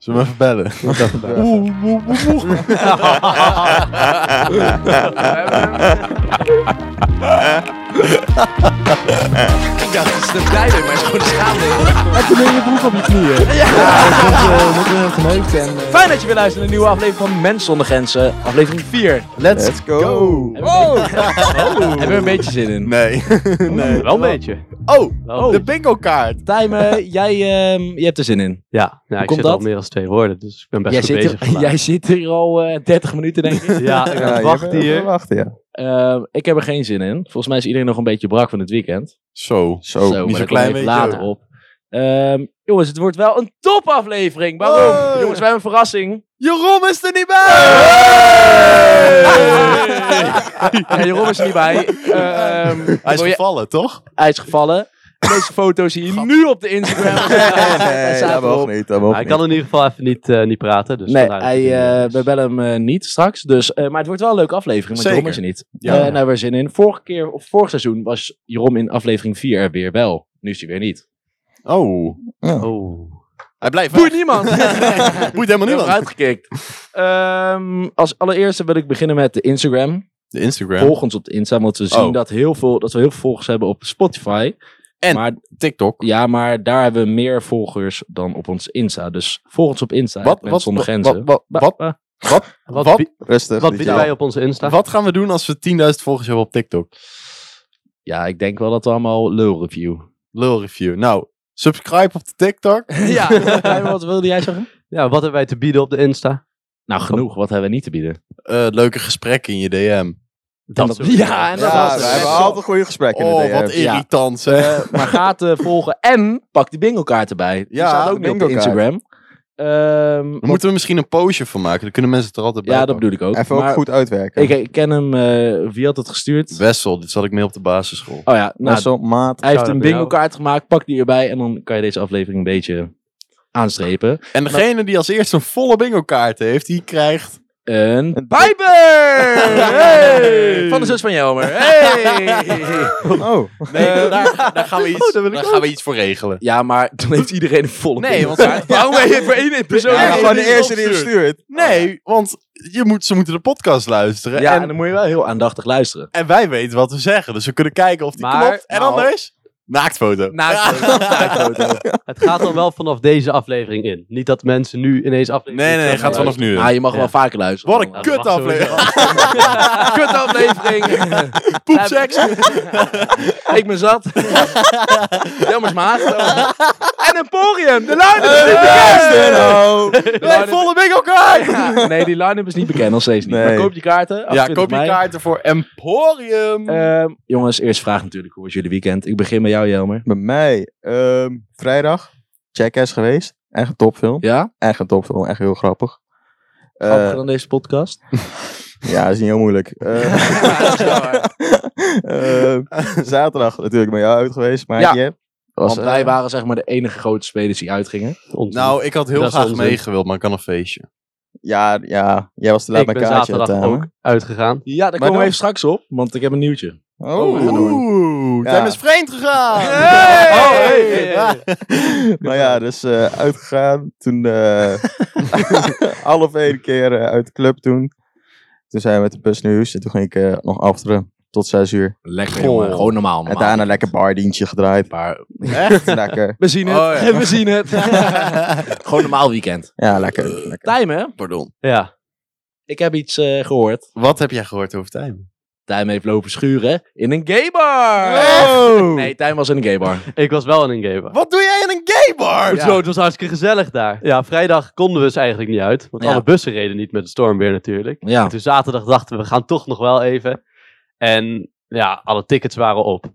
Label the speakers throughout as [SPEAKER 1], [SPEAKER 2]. [SPEAKER 1] Zullen we even bellen?
[SPEAKER 2] Ik dacht, het is een pleider, maar het is gewoon een schaamde.
[SPEAKER 3] Toen ben je broek op je knieën. Ja, dat wordt heel geneukt. En, eh,
[SPEAKER 2] Fijn dat je weer luistert naar een nieuwe aflevering van Mens zonder Grenzen, aflevering 4.
[SPEAKER 1] Let's, go!
[SPEAKER 2] Wow! Hebben we een beetje zin in?
[SPEAKER 1] Nee. nee.
[SPEAKER 4] Wel een beetje.
[SPEAKER 1] Oh,
[SPEAKER 4] Wel een
[SPEAKER 1] de
[SPEAKER 4] beetje.
[SPEAKER 1] bingo kaart!
[SPEAKER 2] Tijmen, jij, ehm, je hebt er zin in.
[SPEAKER 4] Ja, nou, ik
[SPEAKER 2] komt
[SPEAKER 4] zit al
[SPEAKER 2] dat?
[SPEAKER 4] meer dan twee woorden, dus ik ben best
[SPEAKER 2] Jij
[SPEAKER 4] goed
[SPEAKER 2] zit,
[SPEAKER 4] bezig.
[SPEAKER 2] er, jij zit er al eh, 30 minuten, denk ik.
[SPEAKER 4] Ja, ik ben aan het wachten hier.
[SPEAKER 3] Wachten, ja.
[SPEAKER 2] Ehm, ik heb er geen zin in. Volgens mij is iedereen nog een beetje brak van het weekend.
[SPEAKER 1] Zo, zo.
[SPEAKER 2] maar
[SPEAKER 1] niet zo
[SPEAKER 2] daar
[SPEAKER 1] klein
[SPEAKER 2] komen we
[SPEAKER 1] beetje.
[SPEAKER 2] even later op. Ehm, jongens, het wordt wel een topaflevering. Waarom?
[SPEAKER 1] Hey!
[SPEAKER 2] Jongens, wij hebben een verrassing.
[SPEAKER 1] Jeroen is er niet bij!
[SPEAKER 2] Ja, Jeroen is er niet bij. Eh, ehm,
[SPEAKER 1] Hij is
[SPEAKER 2] wil je-
[SPEAKER 1] gevallen, toch?
[SPEAKER 2] hij is gevallen. Deze foto zie je nu op de Instagram. Hij staat erop.
[SPEAKER 3] niet. Dat
[SPEAKER 4] Maar hij kan in ieder geval even niet, eh, niet praten. Dus
[SPEAKER 2] nee,
[SPEAKER 4] vandaar dat
[SPEAKER 2] hij,
[SPEAKER 4] hij,
[SPEAKER 2] eh, we bellen hem eh, niet straks. Dus, eh, maar het wordt wel een leuke aflevering, want
[SPEAKER 1] Zeker.
[SPEAKER 2] Jeroen is er niet.
[SPEAKER 1] Ja.
[SPEAKER 2] Ja. nou, we zin in. Vorige keer, of vorig seizoen, was Jeroen in aflevering 4 er weer wel. Nu is hij weer niet.
[SPEAKER 1] Oh.
[SPEAKER 4] Oh.
[SPEAKER 1] Hij blijft
[SPEAKER 2] Boeit niemand!
[SPEAKER 1] weg. Boeit helemaal
[SPEAKER 2] Niemand
[SPEAKER 1] niemand.
[SPEAKER 2] uitgekikt. Ehm, als allereerste wil ik beginnen met de Instagram.
[SPEAKER 1] De Instagram.
[SPEAKER 2] Volg ons op de Insta, want we zien
[SPEAKER 1] Oh.
[SPEAKER 2] dat, heel veel, dat we heel veel volgers hebben op Spotify.
[SPEAKER 1] En-
[SPEAKER 2] maar,
[SPEAKER 1] TikTok.
[SPEAKER 2] ja, maar daar hebben we meer volgers dan op ons Insta. Dus volg ons op Insta.
[SPEAKER 1] Wat-
[SPEAKER 2] Wat,
[SPEAKER 1] wat-
[SPEAKER 2] zonder
[SPEAKER 1] wat-
[SPEAKER 2] grenzen.
[SPEAKER 1] wat- wat- wat-
[SPEAKER 2] Ba-
[SPEAKER 4] Wat,
[SPEAKER 1] Wat?
[SPEAKER 4] bi-
[SPEAKER 3] Rustig.
[SPEAKER 4] wat
[SPEAKER 3] niet
[SPEAKER 4] bieden
[SPEAKER 3] jou.
[SPEAKER 4] wij op onze Insta?
[SPEAKER 1] Wat gaan we doen als we 10.000 volgers hebben op TikTok?
[SPEAKER 2] Ja, ik denk wel dat we allemaal lul review.
[SPEAKER 1] Lul review. Nou, subscribe op de TikTok.
[SPEAKER 2] Ja, wat wilde jij zeggen?
[SPEAKER 4] Ja, wat hebben wij te bieden op de Insta?
[SPEAKER 2] Nou, genoeg. Wat hebben we niet te bieden?
[SPEAKER 1] Eh, leuke gesprekken in je DM.
[SPEAKER 4] Dat soort
[SPEAKER 2] ja, en dat
[SPEAKER 3] Ja,
[SPEAKER 2] was
[SPEAKER 3] we
[SPEAKER 2] het.
[SPEAKER 3] hebben altijd goede gesprekken in
[SPEAKER 1] Oh,
[SPEAKER 3] de
[SPEAKER 1] wat
[SPEAKER 3] DM.
[SPEAKER 2] Ja.
[SPEAKER 1] irritant, hè?
[SPEAKER 2] Maar gaat eh, volgen en pak die bingo kaart erbij. Die
[SPEAKER 1] Ja,
[SPEAKER 2] staat ook
[SPEAKER 3] de
[SPEAKER 2] nu op de
[SPEAKER 3] bingo kaart.
[SPEAKER 2] Instagram. Ehm,
[SPEAKER 1] Dan moeten we misschien een postje van maken. Dan kunnen mensen het er altijd bij
[SPEAKER 2] ja, dat
[SPEAKER 1] pakken.
[SPEAKER 2] bedoel ik ook.
[SPEAKER 3] Even ook
[SPEAKER 2] maar
[SPEAKER 3] goed uitwerken.
[SPEAKER 2] Ik, ik ken hem. eh, wie had het gestuurd?
[SPEAKER 1] Wessel, dit zat ik Ah, mee op de basisschool.
[SPEAKER 2] Oh ja, nou,
[SPEAKER 3] Marcel, maat.
[SPEAKER 2] hij heeft
[SPEAKER 4] Shout-out
[SPEAKER 2] een
[SPEAKER 4] naar
[SPEAKER 2] bingo kaart gemaakt. Pak die erbij en dan kan je deze aflevering een beetje aanstrepen.
[SPEAKER 1] En degene die als eerste een volle bingo kaart heeft, die krijgt...
[SPEAKER 2] Een
[SPEAKER 3] Een-
[SPEAKER 2] Bijber!
[SPEAKER 1] Hey!
[SPEAKER 2] Van de zus van Jelmer. Hey!
[SPEAKER 3] Oh.
[SPEAKER 1] Nee, daar, gaan we iets, Oh, daar gaan we iets voor regelen.
[SPEAKER 2] Ja, maar dan heeft iedereen een volle
[SPEAKER 1] Nee,
[SPEAKER 2] bingo
[SPEAKER 1] want
[SPEAKER 2] kaart. waarom ben je voor één persoon?
[SPEAKER 1] Ja,
[SPEAKER 3] Ja,
[SPEAKER 1] nee,
[SPEAKER 3] gewoon
[SPEAKER 1] dit
[SPEAKER 3] de
[SPEAKER 1] is
[SPEAKER 3] eerste die hem
[SPEAKER 1] opgestuurd.
[SPEAKER 3] stuurt.
[SPEAKER 1] Nee, want je moet, ze moeten de podcast luisteren.
[SPEAKER 2] Ja, en,
[SPEAKER 1] Oh, en,
[SPEAKER 2] dan moet je wel heel aandachtig luisteren.
[SPEAKER 1] en wij weten wat we zeggen, dus we kunnen kijken of die
[SPEAKER 4] Maar-
[SPEAKER 1] klopt. En
[SPEAKER 4] nou-
[SPEAKER 1] anders? Naaktfoto.
[SPEAKER 4] Het gaat dan wel vanaf deze aflevering in. Niet dat mensen nu ineens aflevering
[SPEAKER 1] Nee, nee, nee, gaat vanaf
[SPEAKER 4] luisteren.
[SPEAKER 1] nu. in.
[SPEAKER 2] Ah, je mag
[SPEAKER 4] Ja.
[SPEAKER 2] wel vaker luisteren.
[SPEAKER 1] Wat een
[SPEAKER 4] dat
[SPEAKER 1] kut
[SPEAKER 4] mag sowieso.
[SPEAKER 1] aflevering.
[SPEAKER 2] kut aflevering.
[SPEAKER 1] Poepseks.
[SPEAKER 2] Ik ben zat. Jelmers maag. en Emporium. De line-up is niet
[SPEAKER 3] Luister
[SPEAKER 2] bekend.
[SPEAKER 3] nou.
[SPEAKER 2] De
[SPEAKER 1] Nee,
[SPEAKER 2] line-up-
[SPEAKER 1] volle bingo kaart.
[SPEAKER 2] Ja, Nee, die line-up is niet bekend. Nog steeds niet.
[SPEAKER 3] Nee.
[SPEAKER 2] Maar koop je kaarten.
[SPEAKER 1] Ja, koop
[SPEAKER 2] 28
[SPEAKER 1] je
[SPEAKER 2] mei.
[SPEAKER 1] kaarten voor Emporium.
[SPEAKER 2] Ehm, jongens, eerst vraag natuurlijk. Hoe was jullie weekend? Ik begin met jou, Jelmer.
[SPEAKER 3] Bij mij, ehm, vrijdag, Jackass geweest. Echt een topfilm.
[SPEAKER 2] Ja?
[SPEAKER 3] Echt een topfilm, echt heel grappig. Eh,
[SPEAKER 2] Grappiger dan deze podcast?
[SPEAKER 3] ja, is niet heel moeilijk. Eh, eh, zaterdag natuurlijk met jou uit geweest, maatje. Was,
[SPEAKER 2] Want wij
[SPEAKER 3] eh,
[SPEAKER 2] waren zeg maar de enige grote spelers die uitgingen.
[SPEAKER 4] Onzin.
[SPEAKER 1] Nou, ik had heel
[SPEAKER 4] Dat is
[SPEAKER 1] graag
[SPEAKER 4] onzin.
[SPEAKER 1] meegewild, maar ik kan een feestje.
[SPEAKER 3] ja, ja, jij was te laat
[SPEAKER 4] ik
[SPEAKER 3] met
[SPEAKER 4] ben
[SPEAKER 3] kaartje.
[SPEAKER 4] zaterdag
[SPEAKER 3] aan het eh,
[SPEAKER 4] ook
[SPEAKER 3] halen.
[SPEAKER 4] uitgegaan.
[SPEAKER 2] Ja, daar komen we even straks op, want ik heb een nieuwtje.
[SPEAKER 3] Oh, we gaan door.
[SPEAKER 1] Oeh,
[SPEAKER 3] Ja.
[SPEAKER 1] Tim is vreemd gegaan.
[SPEAKER 3] Hey!
[SPEAKER 1] Oh, hey, hey, hey.
[SPEAKER 3] nou ja, dus eh, uitgegaan. Toen eh half één keer eh, uit de club toen. Toen zijn we met de bus naar huis. En toen ging ik eh, nog afteren tot zes uur.
[SPEAKER 2] Lekker,
[SPEAKER 1] Goh.
[SPEAKER 2] jongen. Gewoon normaal,
[SPEAKER 3] En
[SPEAKER 2] normaal.
[SPEAKER 3] daarna lekker bardientje gedraaid.
[SPEAKER 2] Maar
[SPEAKER 3] Echt? Lekker.
[SPEAKER 2] we zien het.
[SPEAKER 1] Oh, ja.
[SPEAKER 2] We zien het. Gewoon normaal weekend.
[SPEAKER 3] Ja, lekker.
[SPEAKER 2] Eh,
[SPEAKER 3] lekker.
[SPEAKER 2] Tijmen,
[SPEAKER 1] Pardon.
[SPEAKER 4] Ja.
[SPEAKER 2] ik heb iets eh, gehoord.
[SPEAKER 1] Wat heb jij gehoord over Tijmen?
[SPEAKER 2] Tijmen heeft lopen schuren in een gaybar.
[SPEAKER 1] Oh!
[SPEAKER 2] Nee, Tijmen was in een gaybar.
[SPEAKER 4] Ik was wel in een gamer.
[SPEAKER 1] Wat doe jij in een gaybar?
[SPEAKER 4] Hoezo, het was hartstikke gezellig daar. Ja, vrijdag konden we dus eigenlijk niet uit. Want
[SPEAKER 2] Ja.
[SPEAKER 4] alle bussen reden niet met het stormweer natuurlijk.
[SPEAKER 2] Ja.
[SPEAKER 4] En toen zaterdag dachten we, we gaan toch nog wel even. En ja, alle tickets waren op.